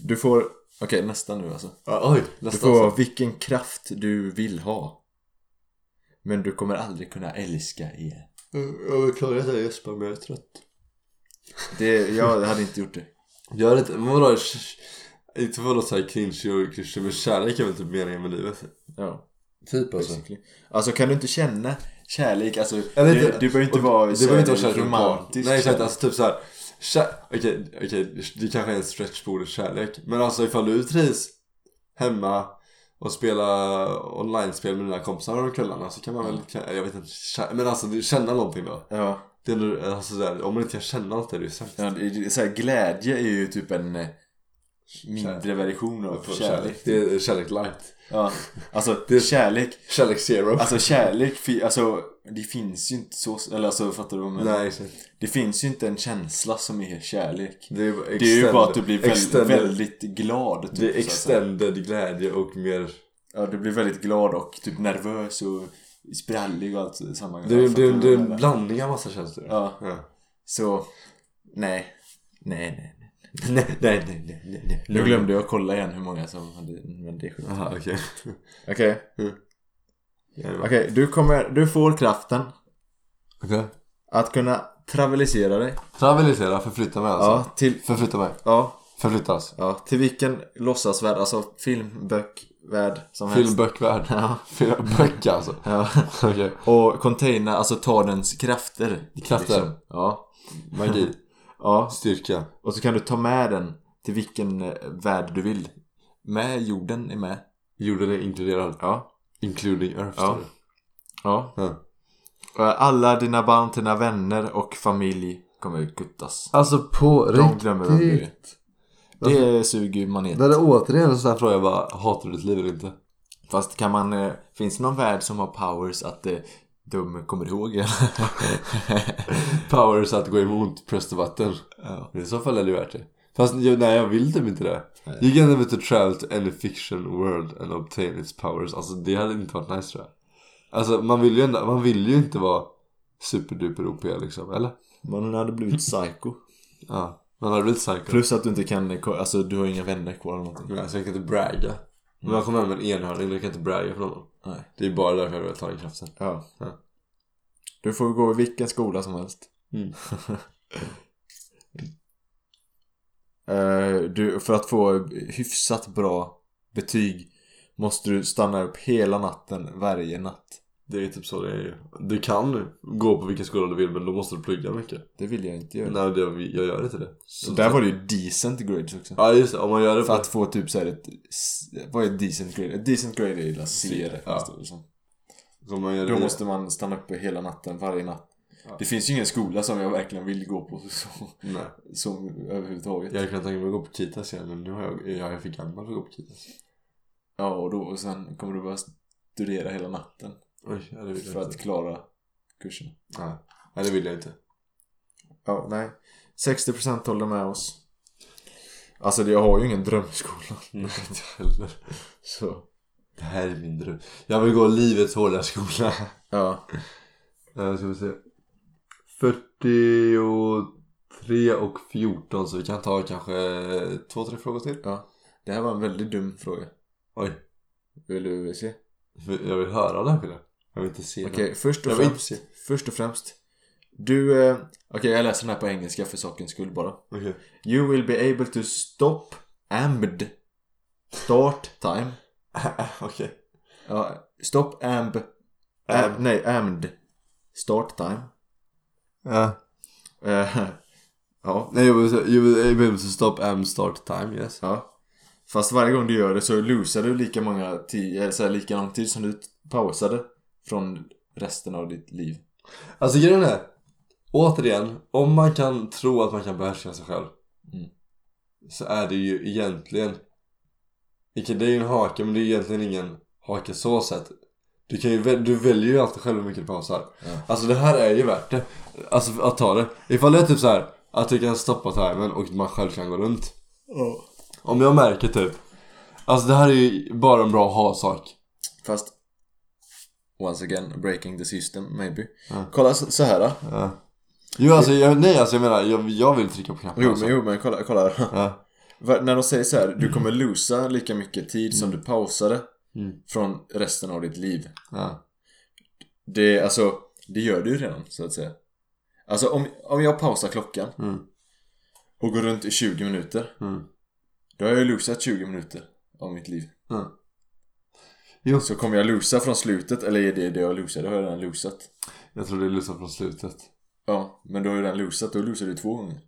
[SPEAKER 2] Du får... Okej, nästa nu alltså.
[SPEAKER 1] Ja, oj,
[SPEAKER 2] Du
[SPEAKER 1] nästa alltså.
[SPEAKER 2] får
[SPEAKER 1] avsnitt.
[SPEAKER 2] vilken kraft du vill ha. Men du kommer aldrig kunna älska igen.
[SPEAKER 1] Jag beklagar att jag gäspar men jag är trött.
[SPEAKER 2] Det, jag hade inte gjort det.
[SPEAKER 1] Gör inte, men vadå? sh- Inte för att låta såhär cringe och klyschigt men kärlek är väl typ meningen med livet?
[SPEAKER 2] Ja,
[SPEAKER 1] Typ
[SPEAKER 2] basically. Alltså kan du inte känna kärlek, alltså...
[SPEAKER 1] Eller
[SPEAKER 2] du,
[SPEAKER 1] inte-
[SPEAKER 2] du behöver inte vara
[SPEAKER 1] Det behöver inte vara
[SPEAKER 2] så här
[SPEAKER 1] kärlek romantisk Nej exakt, alltså typ såhär kär- Okej, okej, det kanske är en stretch på ordet kärlek Men alltså ifall du trivs hemma och spela online-spel med dina kompisar om kvällarna så kan man
[SPEAKER 2] Mm.
[SPEAKER 1] väl, jag vet inte, kär- men alltså du- känna någonting då
[SPEAKER 2] Ja.
[SPEAKER 1] det är, nu- alltså, sådär, Om man inte kan känna något är det ju sämst
[SPEAKER 2] Ja, det- det- så här, glädje är ju typ en eh, mindre version av kärlek.
[SPEAKER 1] Det är kärlek light
[SPEAKER 2] Ja, alltså
[SPEAKER 1] Det-
[SPEAKER 2] kärlek,
[SPEAKER 1] Kärlek zero
[SPEAKER 2] alltså kärlek, fi- alltså det finns ju inte så, eller alltså fattar du vad jag menar?
[SPEAKER 1] Nej exakt
[SPEAKER 2] Det finns ju inte en känsla som är kärlek.
[SPEAKER 1] Det är,
[SPEAKER 2] Det är ju
[SPEAKER 1] extend-
[SPEAKER 2] bara att du blir väldigt,
[SPEAKER 1] extended-
[SPEAKER 2] väldigt glad. Typ,
[SPEAKER 1] Det är
[SPEAKER 2] så att säga.
[SPEAKER 1] extended glädje och mer
[SPEAKER 2] Ja, du blir väldigt glad och typ nervös och sprallig och allt i samma gång.
[SPEAKER 1] Det är,
[SPEAKER 2] Fattar
[SPEAKER 1] det är,
[SPEAKER 2] du vad
[SPEAKER 1] det är
[SPEAKER 2] jag
[SPEAKER 1] en
[SPEAKER 2] menar?
[SPEAKER 1] blandning av massa känslor
[SPEAKER 2] Ja,
[SPEAKER 1] Ja.
[SPEAKER 2] så nej. Nej, nej, nej.
[SPEAKER 1] Nej, nej, nej, nej, nej, nej.
[SPEAKER 2] Nu glömde jag kolla igen hur många som hade, men det är sjukt.
[SPEAKER 1] Jaha, okej.
[SPEAKER 2] Okej.
[SPEAKER 1] Ja, det var-
[SPEAKER 2] Okej, du, kommer, du får kraften
[SPEAKER 1] Okej.
[SPEAKER 2] att kunna Travelisera dig.
[SPEAKER 1] Travelisera, förflytta mig alltså.
[SPEAKER 2] Ja, till...
[SPEAKER 1] Förflytta mig.
[SPEAKER 2] Ja,
[SPEAKER 1] Förflyttas.
[SPEAKER 2] ja, till vilken låtsasvärld, alltså film, böck, värld som helst.
[SPEAKER 1] Filmböckvärld.
[SPEAKER 2] Ja.
[SPEAKER 1] Filmböck alltså.
[SPEAKER 2] Ja.
[SPEAKER 1] Okej.
[SPEAKER 2] Och containa, alltså ta dens krafter.
[SPEAKER 1] Krafter.
[SPEAKER 2] Ja.
[SPEAKER 1] Liksom. Magi.
[SPEAKER 2] Ja,
[SPEAKER 1] Styrka.
[SPEAKER 2] och så kan du ta med den till vilken eh, värld du vill. Med jorden är med.
[SPEAKER 1] Jorden är inkluderad.
[SPEAKER 2] Ja.
[SPEAKER 1] Including Earth.
[SPEAKER 2] Ja.
[SPEAKER 1] står det.
[SPEAKER 2] Ja.
[SPEAKER 1] Ja.
[SPEAKER 2] Och Alla dina barn, dina vänner och familj kommer att guttas.
[SPEAKER 1] Alltså på
[SPEAKER 2] De glömmer vad du är.
[SPEAKER 1] riktigt. Alltså-
[SPEAKER 2] Det suger ju manet.
[SPEAKER 1] Det är återigen en sån här fråga, jag bara hatar du ditt liv eller inte?
[SPEAKER 2] Fast kan man... eh, Finns det någon värld som har powers att eh, de kommer ihåg en?
[SPEAKER 1] Powers att gå emot prästdebatten.
[SPEAKER 2] ja.
[SPEAKER 1] I så fall är det värt det. Fast jag, nej, jag vill typ inte det.
[SPEAKER 2] Nej.
[SPEAKER 1] You can never to travel to any fiction world and obtain its powers. Alltså det hade inte varit nice tror jag. Alltså man vill ju, ändå, man vill ju inte vara superduper OP liksom, eller?
[SPEAKER 2] Man hade blivit psycho.
[SPEAKER 1] Ja. Man hade blivit psycho.
[SPEAKER 2] Plus att du inte kan... eh, ko- Alltså du har inga vänner kvar eller någonting.
[SPEAKER 1] Nej, så jag kan inte bragga. Om jag kommer hem med en enhörning, då kan jag inte bragga för någon.
[SPEAKER 2] Nej.
[SPEAKER 1] Det är bara därför jag vill ta den kraften.
[SPEAKER 2] Ja.
[SPEAKER 1] Ja.
[SPEAKER 2] Du får gå i vilken skola som helst.
[SPEAKER 1] Mm.
[SPEAKER 2] Eh, du, för att få hyfsat bra betyg måste du stanna upp hela natten varje natt.
[SPEAKER 1] Det är typ så det är ju. Du kan gå på vilken skola du vill men då måste du plugga mycket.
[SPEAKER 2] Det vill jag inte göra.
[SPEAKER 1] Nej, det, jag gör inte det.
[SPEAKER 2] Så där var det ju decent grades också.
[SPEAKER 1] Ja just det, om man gör det på...
[SPEAKER 2] För att få typ såhär ett... s- Vad är decent grade? Ett decent grade är illa C. det
[SPEAKER 1] Ja.
[SPEAKER 2] står det som.
[SPEAKER 1] om man gör det
[SPEAKER 2] Då måste man stanna uppe hela natten, varje natt.
[SPEAKER 1] Ja.
[SPEAKER 2] Det finns ju ingen skola som jag verkligen vill gå på så,
[SPEAKER 1] Nej.
[SPEAKER 2] som överhuvudtaget.
[SPEAKER 1] Jag kan tänka mig att gå på Kitas igen men nu har jag, jag är för gammal för att gå på Kitas.
[SPEAKER 2] Ja, och då och sen kommer du börja studera hela natten
[SPEAKER 1] Oj, ja, det vill
[SPEAKER 2] för
[SPEAKER 1] jag
[SPEAKER 2] att
[SPEAKER 1] inte.
[SPEAKER 2] klara kurserna.
[SPEAKER 1] Nej. Nej, det vill jag inte.
[SPEAKER 2] Ja, nej. 60% håller med oss. Alltså jag har ju ingen drömskola.
[SPEAKER 1] Nej, inte heller.
[SPEAKER 2] Så.
[SPEAKER 1] Det här är min dröm. Jag vill gå livets hårda skola.
[SPEAKER 2] Ja.
[SPEAKER 1] Eh, ska vi se. 43 och 14 så vi kan ta kanske två, tre frågor till.
[SPEAKER 2] Det här var en väldigt dum fråga.
[SPEAKER 1] Oj.
[SPEAKER 2] Vill du se?
[SPEAKER 1] Jag vill höra den skillnaden. Jag vill inte se
[SPEAKER 2] Okej,
[SPEAKER 1] den.
[SPEAKER 2] först, och
[SPEAKER 1] Jag vill
[SPEAKER 2] främst,
[SPEAKER 1] inte se.
[SPEAKER 2] först och främst. Du, eh, okej jag läser den här på engelska för sakens skull bara.
[SPEAKER 1] Okej.
[SPEAKER 2] You will be able to stop AMBD start time.
[SPEAKER 1] Okej.
[SPEAKER 2] Ja, stop AMB.
[SPEAKER 1] Am.
[SPEAKER 2] Am, nej, AMD start time.
[SPEAKER 1] Ja.
[SPEAKER 2] Eh, ja,
[SPEAKER 1] Nej, you will, you will able to stop and start time, yes.
[SPEAKER 2] ja. Fast varje gång du gör det så losar du lika många ti- eh, så här, lika lång tid som du pausade från resten av ditt liv.
[SPEAKER 1] Alltså grejen är, återigen, om man kan tro att man kan behärska sig själv
[SPEAKER 2] Mm.
[SPEAKER 1] så är det ju egentligen, Icke, det är ju en hake men det är egentligen ingen hake så sett. Du, kan ju, väl- du väljer ju alltid själv hur mycket du pausar.
[SPEAKER 2] Ja.
[SPEAKER 1] Alltså det här är ju värt det. Alltså att ta det. Ifall det är typ så här att du kan stoppa timern och man själv kan gå runt. Om jag märker typ, alltså det här är ju bara en bra ha-sak.
[SPEAKER 2] Fast once again breaking the system maybe.
[SPEAKER 1] Ja.
[SPEAKER 2] Kolla så, så här. Då.
[SPEAKER 1] Ja. Jo alltså, jag, nej alltså jag menar, jag, jag vill trycka på knappen
[SPEAKER 2] Jo,
[SPEAKER 1] alltså.
[SPEAKER 2] men, jo, men kolla, kolla här.
[SPEAKER 1] Ja.
[SPEAKER 2] Va- När de säger så här, du kommer losa lika mycket tid som du pausade
[SPEAKER 1] Mm.
[SPEAKER 2] från resten av ditt liv.
[SPEAKER 1] Ja.
[SPEAKER 2] Det, alltså, det gör du ju redan så att säga. Alltså om, om jag pausar klockan
[SPEAKER 1] Mm.
[SPEAKER 2] och går runt i 20 minuter.
[SPEAKER 1] Mm.
[SPEAKER 2] Då har jag ju losat 20 minuter av mitt liv.
[SPEAKER 1] Ja. Mm. Jo.
[SPEAKER 2] Så kommer jag losa från slutet eller är det det jag losar? Det har jag redan losat.
[SPEAKER 1] Jag tror det är lyssna från slutet.
[SPEAKER 2] Ja, men då har jag redan losat. Då losar du två gånger.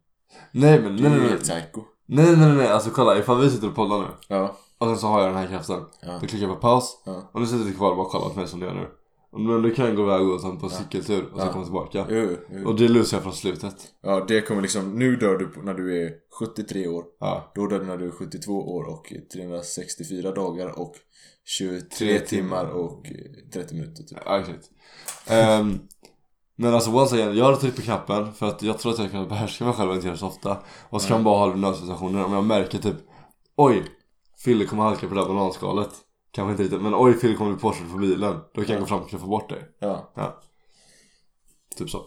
[SPEAKER 1] Nej men
[SPEAKER 2] Det
[SPEAKER 1] nej
[SPEAKER 2] är ju
[SPEAKER 1] nej nej.
[SPEAKER 2] helt psycho.
[SPEAKER 1] Nej nej nej nej. Alltså kolla ifall vi sitter och poddar nu.
[SPEAKER 2] Ja,
[SPEAKER 1] Och sen så har jag den här kraften.
[SPEAKER 2] ja,
[SPEAKER 1] Då klickar jag på paus.
[SPEAKER 2] ja.
[SPEAKER 1] Och nu sitter du kvar och bara kollar på mig som du gör nu. Men du kan jag gå iväg och ta på en cykeltur och sen
[SPEAKER 2] Ja.
[SPEAKER 1] komma tillbaka.
[SPEAKER 2] Jo, jo.
[SPEAKER 1] Och det lyssnar jag från slutet.
[SPEAKER 2] Ja, det kommer liksom. Nu dör du på- när du är 73 år.
[SPEAKER 1] Ja.
[SPEAKER 2] Då dör du när du är 72 år och 364 dagar och 23
[SPEAKER 1] Tre timmar.
[SPEAKER 2] timmar och eh, 30 minuter typ.
[SPEAKER 1] Ja, exakt. Ehm, men alltså once again, jag hade tryckt på knappen för att jag tror att jag kan behärska mig själv och inte göra det så ofta. Och så kan man bara ha det i nödsituationer. Om jag märker typ Oj! Fille kommer halka på det där bananskalet. Kanske inte riktigt, men oj Fille kommer bli påkörd för bilen. Då kan jag gå fram och knuffa bort dig.
[SPEAKER 2] Ja.
[SPEAKER 1] Ja. Typ så.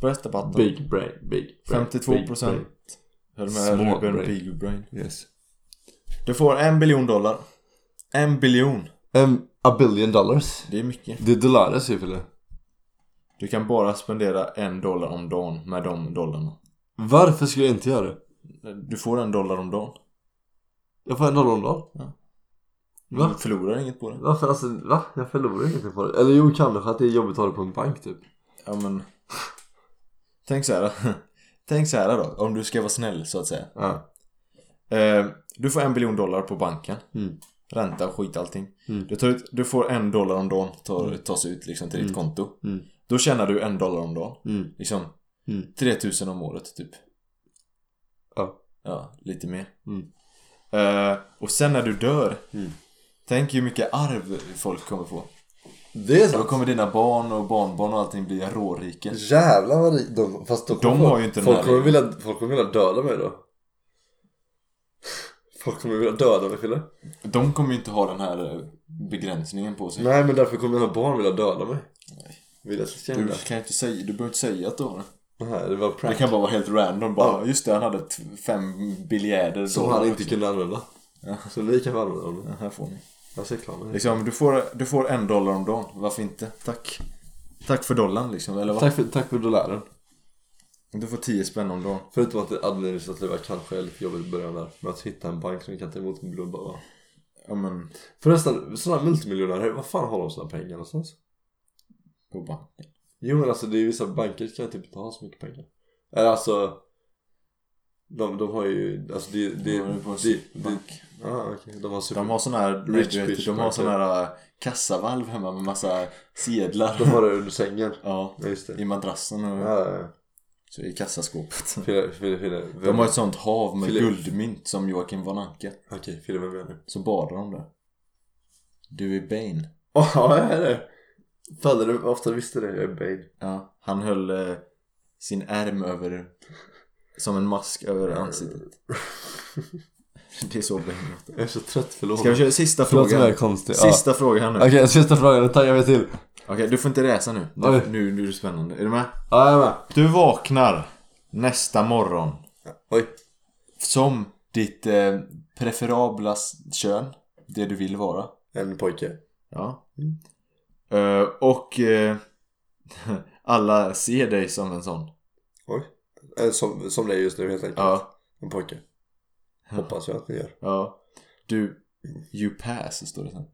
[SPEAKER 2] Bästa batten.
[SPEAKER 1] Big brain, big brain.
[SPEAKER 2] 52
[SPEAKER 1] big
[SPEAKER 2] procent. Höll med
[SPEAKER 1] Small
[SPEAKER 2] Ruben
[SPEAKER 1] brain.
[SPEAKER 2] Big Brain.
[SPEAKER 1] brain. Yes.
[SPEAKER 2] Du får en biljon dollar. En biljon.
[SPEAKER 1] Um, a billion dollars.
[SPEAKER 2] Det är mycket.
[SPEAKER 1] Det är dollars ju Fille.
[SPEAKER 2] Du kan bara spendera en dollar om dagen med de dollarna.
[SPEAKER 1] Varför skulle jag inte göra det?
[SPEAKER 2] Du får en dollar om dagen.
[SPEAKER 1] Jag får en dollar om dagen.
[SPEAKER 2] Ja.
[SPEAKER 1] Va?
[SPEAKER 2] Du förlorar inget på det.
[SPEAKER 1] Varför alltså, va? Jag förlorar ingenting på det. Eller jo, kanske att det är jobbigt att ha det på en bank typ.
[SPEAKER 2] Ja men... Tänk så här. Tänk så här då, om du ska vara snäll så att säga.
[SPEAKER 1] Ja.
[SPEAKER 2] Eh, du får en biljon dollar på banken.
[SPEAKER 1] Mm.
[SPEAKER 2] Ränta och skit allting.
[SPEAKER 1] Mm.
[SPEAKER 2] Du, tar ut, du får en dollar om dagen tar, tas ut liksom till ditt konto.
[SPEAKER 1] Mm.
[SPEAKER 2] Då tjänar du en dollar om dagen.
[SPEAKER 1] Mm.
[SPEAKER 2] Liksom
[SPEAKER 1] Mm.
[SPEAKER 2] 3000 om året typ.
[SPEAKER 1] Ja.
[SPEAKER 2] Ja, lite mer.
[SPEAKER 1] Mm.
[SPEAKER 2] Eh, och sen när du dör.
[SPEAKER 1] Mm.
[SPEAKER 2] Tänk hur mycket arv folk kommer få.
[SPEAKER 1] Det är
[SPEAKER 2] Då kommer dina barn och barnbarn och allting bli rårika.
[SPEAKER 1] Jävlar vad rik- de... Fast då
[SPEAKER 2] De har ju inte den
[SPEAKER 1] folk
[SPEAKER 2] här
[SPEAKER 1] kommer, vilja, folk kommer vilja döda mig då. Folk kommer vilja döda mig Fille.
[SPEAKER 2] De kommer ju inte ha den här eh, begränsningen på sig.
[SPEAKER 1] Nej men därför kommer mina barn vilja döda mig. Vill jag ska
[SPEAKER 2] Du
[SPEAKER 1] hända.
[SPEAKER 2] kan ju inte säga, du behöver inte säga att du har det.
[SPEAKER 1] Nej, det var
[SPEAKER 2] Det
[SPEAKER 1] prank.
[SPEAKER 2] kan bara vara helt random bara. Just det, han hade t- fem biljärder.
[SPEAKER 1] Som
[SPEAKER 2] dollar
[SPEAKER 1] han inte
[SPEAKER 2] också.
[SPEAKER 1] kunde använda. Så ni kan få använda dem.
[SPEAKER 2] Ja, här får ni.
[SPEAKER 1] Jag ser klar med det.
[SPEAKER 2] Liksom, du får, du får en dollar om dagen. Varför inte? Tack. Tack för dollarn liksom, eller vad?
[SPEAKER 1] Tack för, tack för dolären.
[SPEAKER 2] Du får 10 spänn om dagen.
[SPEAKER 1] Förutom att det administrativa kanske är lite jobbigt i början där. Men att hitta en bank som kan ta emot blubbar va.
[SPEAKER 2] Ja men,
[SPEAKER 1] Förresten, sådana här multimiljonärer, vad fan har de sina pengar någonstans?
[SPEAKER 2] på banken.
[SPEAKER 1] Jo men alltså det är ju vissa banker som kan typ inte ha så mycket pengar. Eller alltså. De, de har ju, alltså det, det,
[SPEAKER 2] Ja, det är på en
[SPEAKER 1] det, det
[SPEAKER 2] bank.
[SPEAKER 1] ah, okej. de har super,
[SPEAKER 2] De har sån här, du
[SPEAKER 1] Rich
[SPEAKER 2] vet,
[SPEAKER 1] bitch
[SPEAKER 2] de har
[SPEAKER 1] banker.
[SPEAKER 2] sån här äh, kassavalv hemma med massa sedlar.
[SPEAKER 1] de har det under sängen.
[SPEAKER 2] Ja,
[SPEAKER 1] Ja just det.
[SPEAKER 2] i madrassen och
[SPEAKER 1] Ja,
[SPEAKER 2] så i kassaskåpet.
[SPEAKER 1] Fille, Fille, Fille.
[SPEAKER 2] De
[SPEAKER 1] vem-
[SPEAKER 2] har ett sånt hav med
[SPEAKER 1] Filip.
[SPEAKER 2] guldmynt som Joakim von Anka.
[SPEAKER 1] Okej, Fille vem är du?
[SPEAKER 2] Så badar de där. Du är Bane.
[SPEAKER 1] Åh, ja jag är det. Fan, du ofta visste det, jag är Bane.
[SPEAKER 2] Ja, han höll eh, sin ärm över... Som en mask över ansiktet. Det är så Bane låter.
[SPEAKER 1] Jag är så trött, förlåt.
[SPEAKER 2] Ska vi köra sista
[SPEAKER 1] Förlåt om jag är
[SPEAKER 2] frågan?
[SPEAKER 1] konstig. Ja.
[SPEAKER 2] Sista frågan nu.
[SPEAKER 1] Okej, sista frågan. Nu taggar vi till.
[SPEAKER 2] Okej, du får inte läsa nu.
[SPEAKER 1] Oj.
[SPEAKER 2] Du, nu. Nu är det spännande. Är du med?
[SPEAKER 1] Ja, jag är med.
[SPEAKER 2] Du vaknar nästa morgon
[SPEAKER 1] Oj.
[SPEAKER 2] som ditt eh, preferabla s- kön. Det du vill vara.
[SPEAKER 1] En pojke.
[SPEAKER 2] Ja.
[SPEAKER 1] Mm.
[SPEAKER 2] Eh, och eh, alla ser dig som en sån.
[SPEAKER 1] Oj. Eh, Som, som det är just nu helt enkelt.
[SPEAKER 2] Ja.
[SPEAKER 1] En pojke. Hoppas jag att ni gör.
[SPEAKER 2] Ja. Du, you pass står det sen.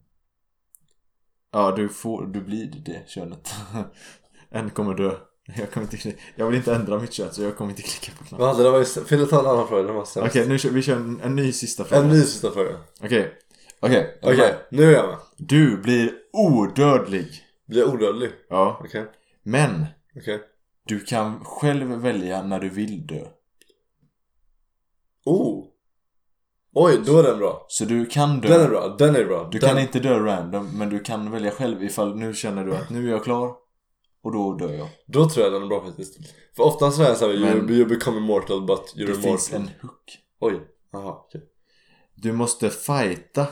[SPEAKER 2] Ja, du får, du blir det könet. en kommer dö. Jag kommer inte klicka. Jag vill inte ändra mitt kön så jag kommer inte klicka på knappen.
[SPEAKER 1] Men det var ju... Fille ta en annan fråga, den var sämst.
[SPEAKER 2] Okej, nu kör vi kör en, en ny sista fråga.
[SPEAKER 1] En ny sista fråga.
[SPEAKER 2] Okej. Okej. är
[SPEAKER 1] Okej,
[SPEAKER 2] du med?
[SPEAKER 1] nu är jag med.
[SPEAKER 2] Du blir odödlig.
[SPEAKER 1] Blir jag odödlig?
[SPEAKER 2] Ja.
[SPEAKER 1] Okej.
[SPEAKER 2] Men
[SPEAKER 1] Okej.
[SPEAKER 2] du kan själv välja när du vill dö.
[SPEAKER 1] Oh! Oj, då är den bra.
[SPEAKER 2] Så du kan dö.
[SPEAKER 1] Den är bra, den är bra.
[SPEAKER 2] Du
[SPEAKER 1] den...
[SPEAKER 2] kan inte dö random, men du kan välja själv ifall nu känner du att nu är jag klar och då dör jag.
[SPEAKER 1] Då tror jag den är bra faktiskt. För oftast så är det såhär, you,
[SPEAKER 2] Men-
[SPEAKER 1] you become immortal but you're
[SPEAKER 2] Det
[SPEAKER 1] immortal.
[SPEAKER 2] finns en hook.
[SPEAKER 1] Oj, jaha okej.
[SPEAKER 2] Du måste fighta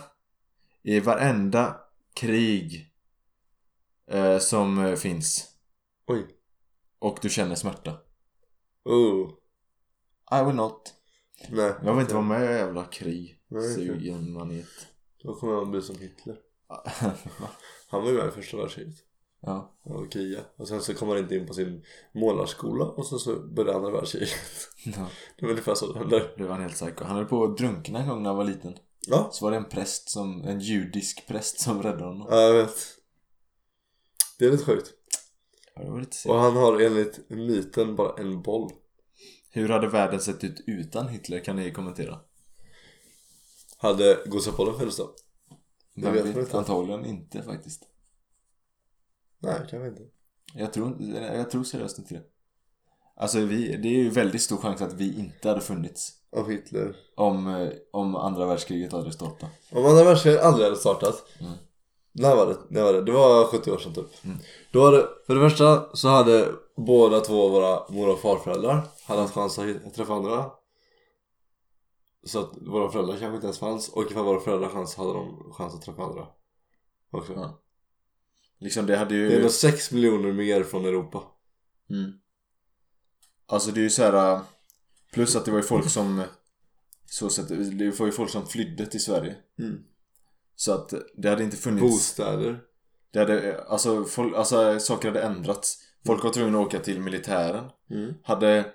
[SPEAKER 2] i varenda krig eh, som eh, finns.
[SPEAKER 1] Oj.
[SPEAKER 2] Och du känner smärta.
[SPEAKER 1] Oh.
[SPEAKER 2] I will not.
[SPEAKER 1] Nej.
[SPEAKER 2] Jag vill inte vara med i jävla krig.
[SPEAKER 1] Nej, okej.
[SPEAKER 2] Sugen manet.
[SPEAKER 1] Då kommer jag bli som Hitler. Han var ju med i första världskriget.
[SPEAKER 2] ja.
[SPEAKER 1] Och kriga. Och sen så kom han inte in på sin målarskola och sen så började andra världskriget.
[SPEAKER 2] ja.
[SPEAKER 1] Det var ungefär så det hände.
[SPEAKER 2] Det var en helt psyko. Han höll på att drunkna en gång när han var liten.
[SPEAKER 1] Ja.
[SPEAKER 2] Så var det en präst som, en judisk präst som räddade honom.
[SPEAKER 1] Ja, jag vet. Det är lite sjukt.
[SPEAKER 2] Ja, det var lite synd.
[SPEAKER 1] Och han har enligt myten bara en boll.
[SPEAKER 2] Hur hade världen sett ut utan Hitler? Kan ni kommentera?
[SPEAKER 1] Hade Gustav Adolf funnits då? Det
[SPEAKER 2] Men
[SPEAKER 1] vet
[SPEAKER 2] vi-
[SPEAKER 1] man inte.
[SPEAKER 2] Antagligen inte faktiskt.
[SPEAKER 1] Nej, kanske inte.
[SPEAKER 2] Jag tror, inte- jag tror seriöst inte det. Alltså vi, det är ju väldigt stor chans att vi inte hade funnits.
[SPEAKER 1] Av Hitler.
[SPEAKER 2] Om, eh, om andra världskriget hade startat.
[SPEAKER 1] Om andra världskriget aldrig hade startat
[SPEAKER 2] Mm.
[SPEAKER 1] När var det? När var det? Det var 70 år sedan typ
[SPEAKER 2] Mm.
[SPEAKER 1] Då hade, för det första så hade båda två våra mor och farföräldrar Hade haft chans att hit- träffa andra Så att våra föräldrar kanske inte ens fanns Och ifall våra föräldrar hade chans hade de chans att träffa andra också.
[SPEAKER 2] Ja. Liksom det hade ju...
[SPEAKER 1] Det är nog 6 miljoner mer från Europa
[SPEAKER 2] Mm. Alltså det är ju så här. äh, Plus att det var ju folk som eh, så sett, Det var ju folk som flydde till Sverige
[SPEAKER 1] Mm.
[SPEAKER 2] Så att det eh, hade inte funnits
[SPEAKER 1] Bostäder
[SPEAKER 2] Det hade, äh, alltså, folk, alltså saker hade ändrats Folk var tvungna att åka till militären.
[SPEAKER 1] Mm.
[SPEAKER 2] Hade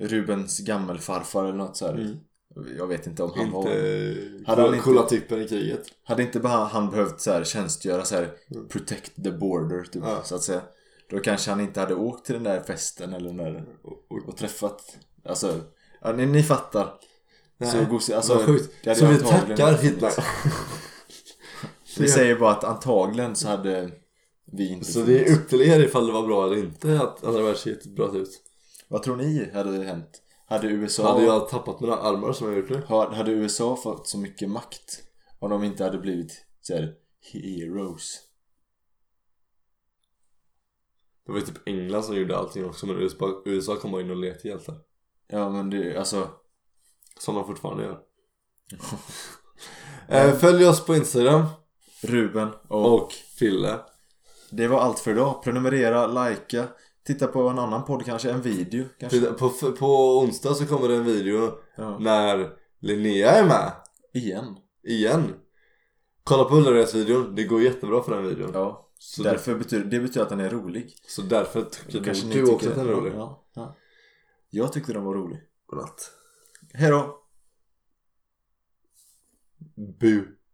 [SPEAKER 2] Rubens gammelfarfar eller något så här.
[SPEAKER 1] Mm.
[SPEAKER 2] Jag vet inte om han var...
[SPEAKER 1] Inte
[SPEAKER 2] Hade han
[SPEAKER 1] hade
[SPEAKER 2] inte-
[SPEAKER 1] coola tippen i kriget.
[SPEAKER 2] Hade inte bara han behövt så här, tjänstgöra så här protect the border typ,
[SPEAKER 1] Mm. Ja.
[SPEAKER 2] så att säga. Då kanske han inte hade åkt till den där festen eller den där och träffat... Alltså, ja, ni, ni fattar. Så
[SPEAKER 1] Nej,
[SPEAKER 2] gosig, alltså,
[SPEAKER 1] Vad sjukt.
[SPEAKER 2] det hade
[SPEAKER 1] Så
[SPEAKER 2] ju
[SPEAKER 1] vi
[SPEAKER 2] antagligen
[SPEAKER 1] tackar
[SPEAKER 2] varit-
[SPEAKER 1] Hitler.
[SPEAKER 2] Vi säger bara att antagligen så hade vi inte
[SPEAKER 1] Så det är
[SPEAKER 2] funnits.
[SPEAKER 1] upp till er ifall det var bra eller inte att andra världskriget bröt ut.
[SPEAKER 2] Vad tror ni hade hänt? Hade USA,
[SPEAKER 1] Hade jag tappat mina armar som jag gjort nu?
[SPEAKER 2] ha- hade USA fått så mycket makt om de inte hade blivit så här, heroes?
[SPEAKER 1] Det var ju typ England som gjorde allting också men USA- USA kom bara in och lät hjältar.
[SPEAKER 2] Ja men det, alltså,
[SPEAKER 1] Som de fortfarande gör. eh, följ oss på Instagram
[SPEAKER 2] Ruben och,
[SPEAKER 1] och Fille.
[SPEAKER 2] det var allt för idag. Prenumerera, likea, titta på en annan podd kanske, en video kanske.
[SPEAKER 1] Titta, På, på onsdag så kommer det en video
[SPEAKER 2] Ja.
[SPEAKER 1] när Linnea är med.
[SPEAKER 2] Igen.
[SPEAKER 1] Igen. Kolla på Ullareds-videon. Det går jättebra för den videon.
[SPEAKER 2] Ja.
[SPEAKER 1] Så,
[SPEAKER 2] Därför betyder, det betyder att den är rolig.
[SPEAKER 1] så därför tycker
[SPEAKER 2] Då kanske
[SPEAKER 1] nog du
[SPEAKER 2] ni tycker
[SPEAKER 1] också att den är rolig.
[SPEAKER 2] Ja, ja. Jag tyckte den var rolig.
[SPEAKER 1] Godnatt.
[SPEAKER 2] Hej då!
[SPEAKER 1] Bu.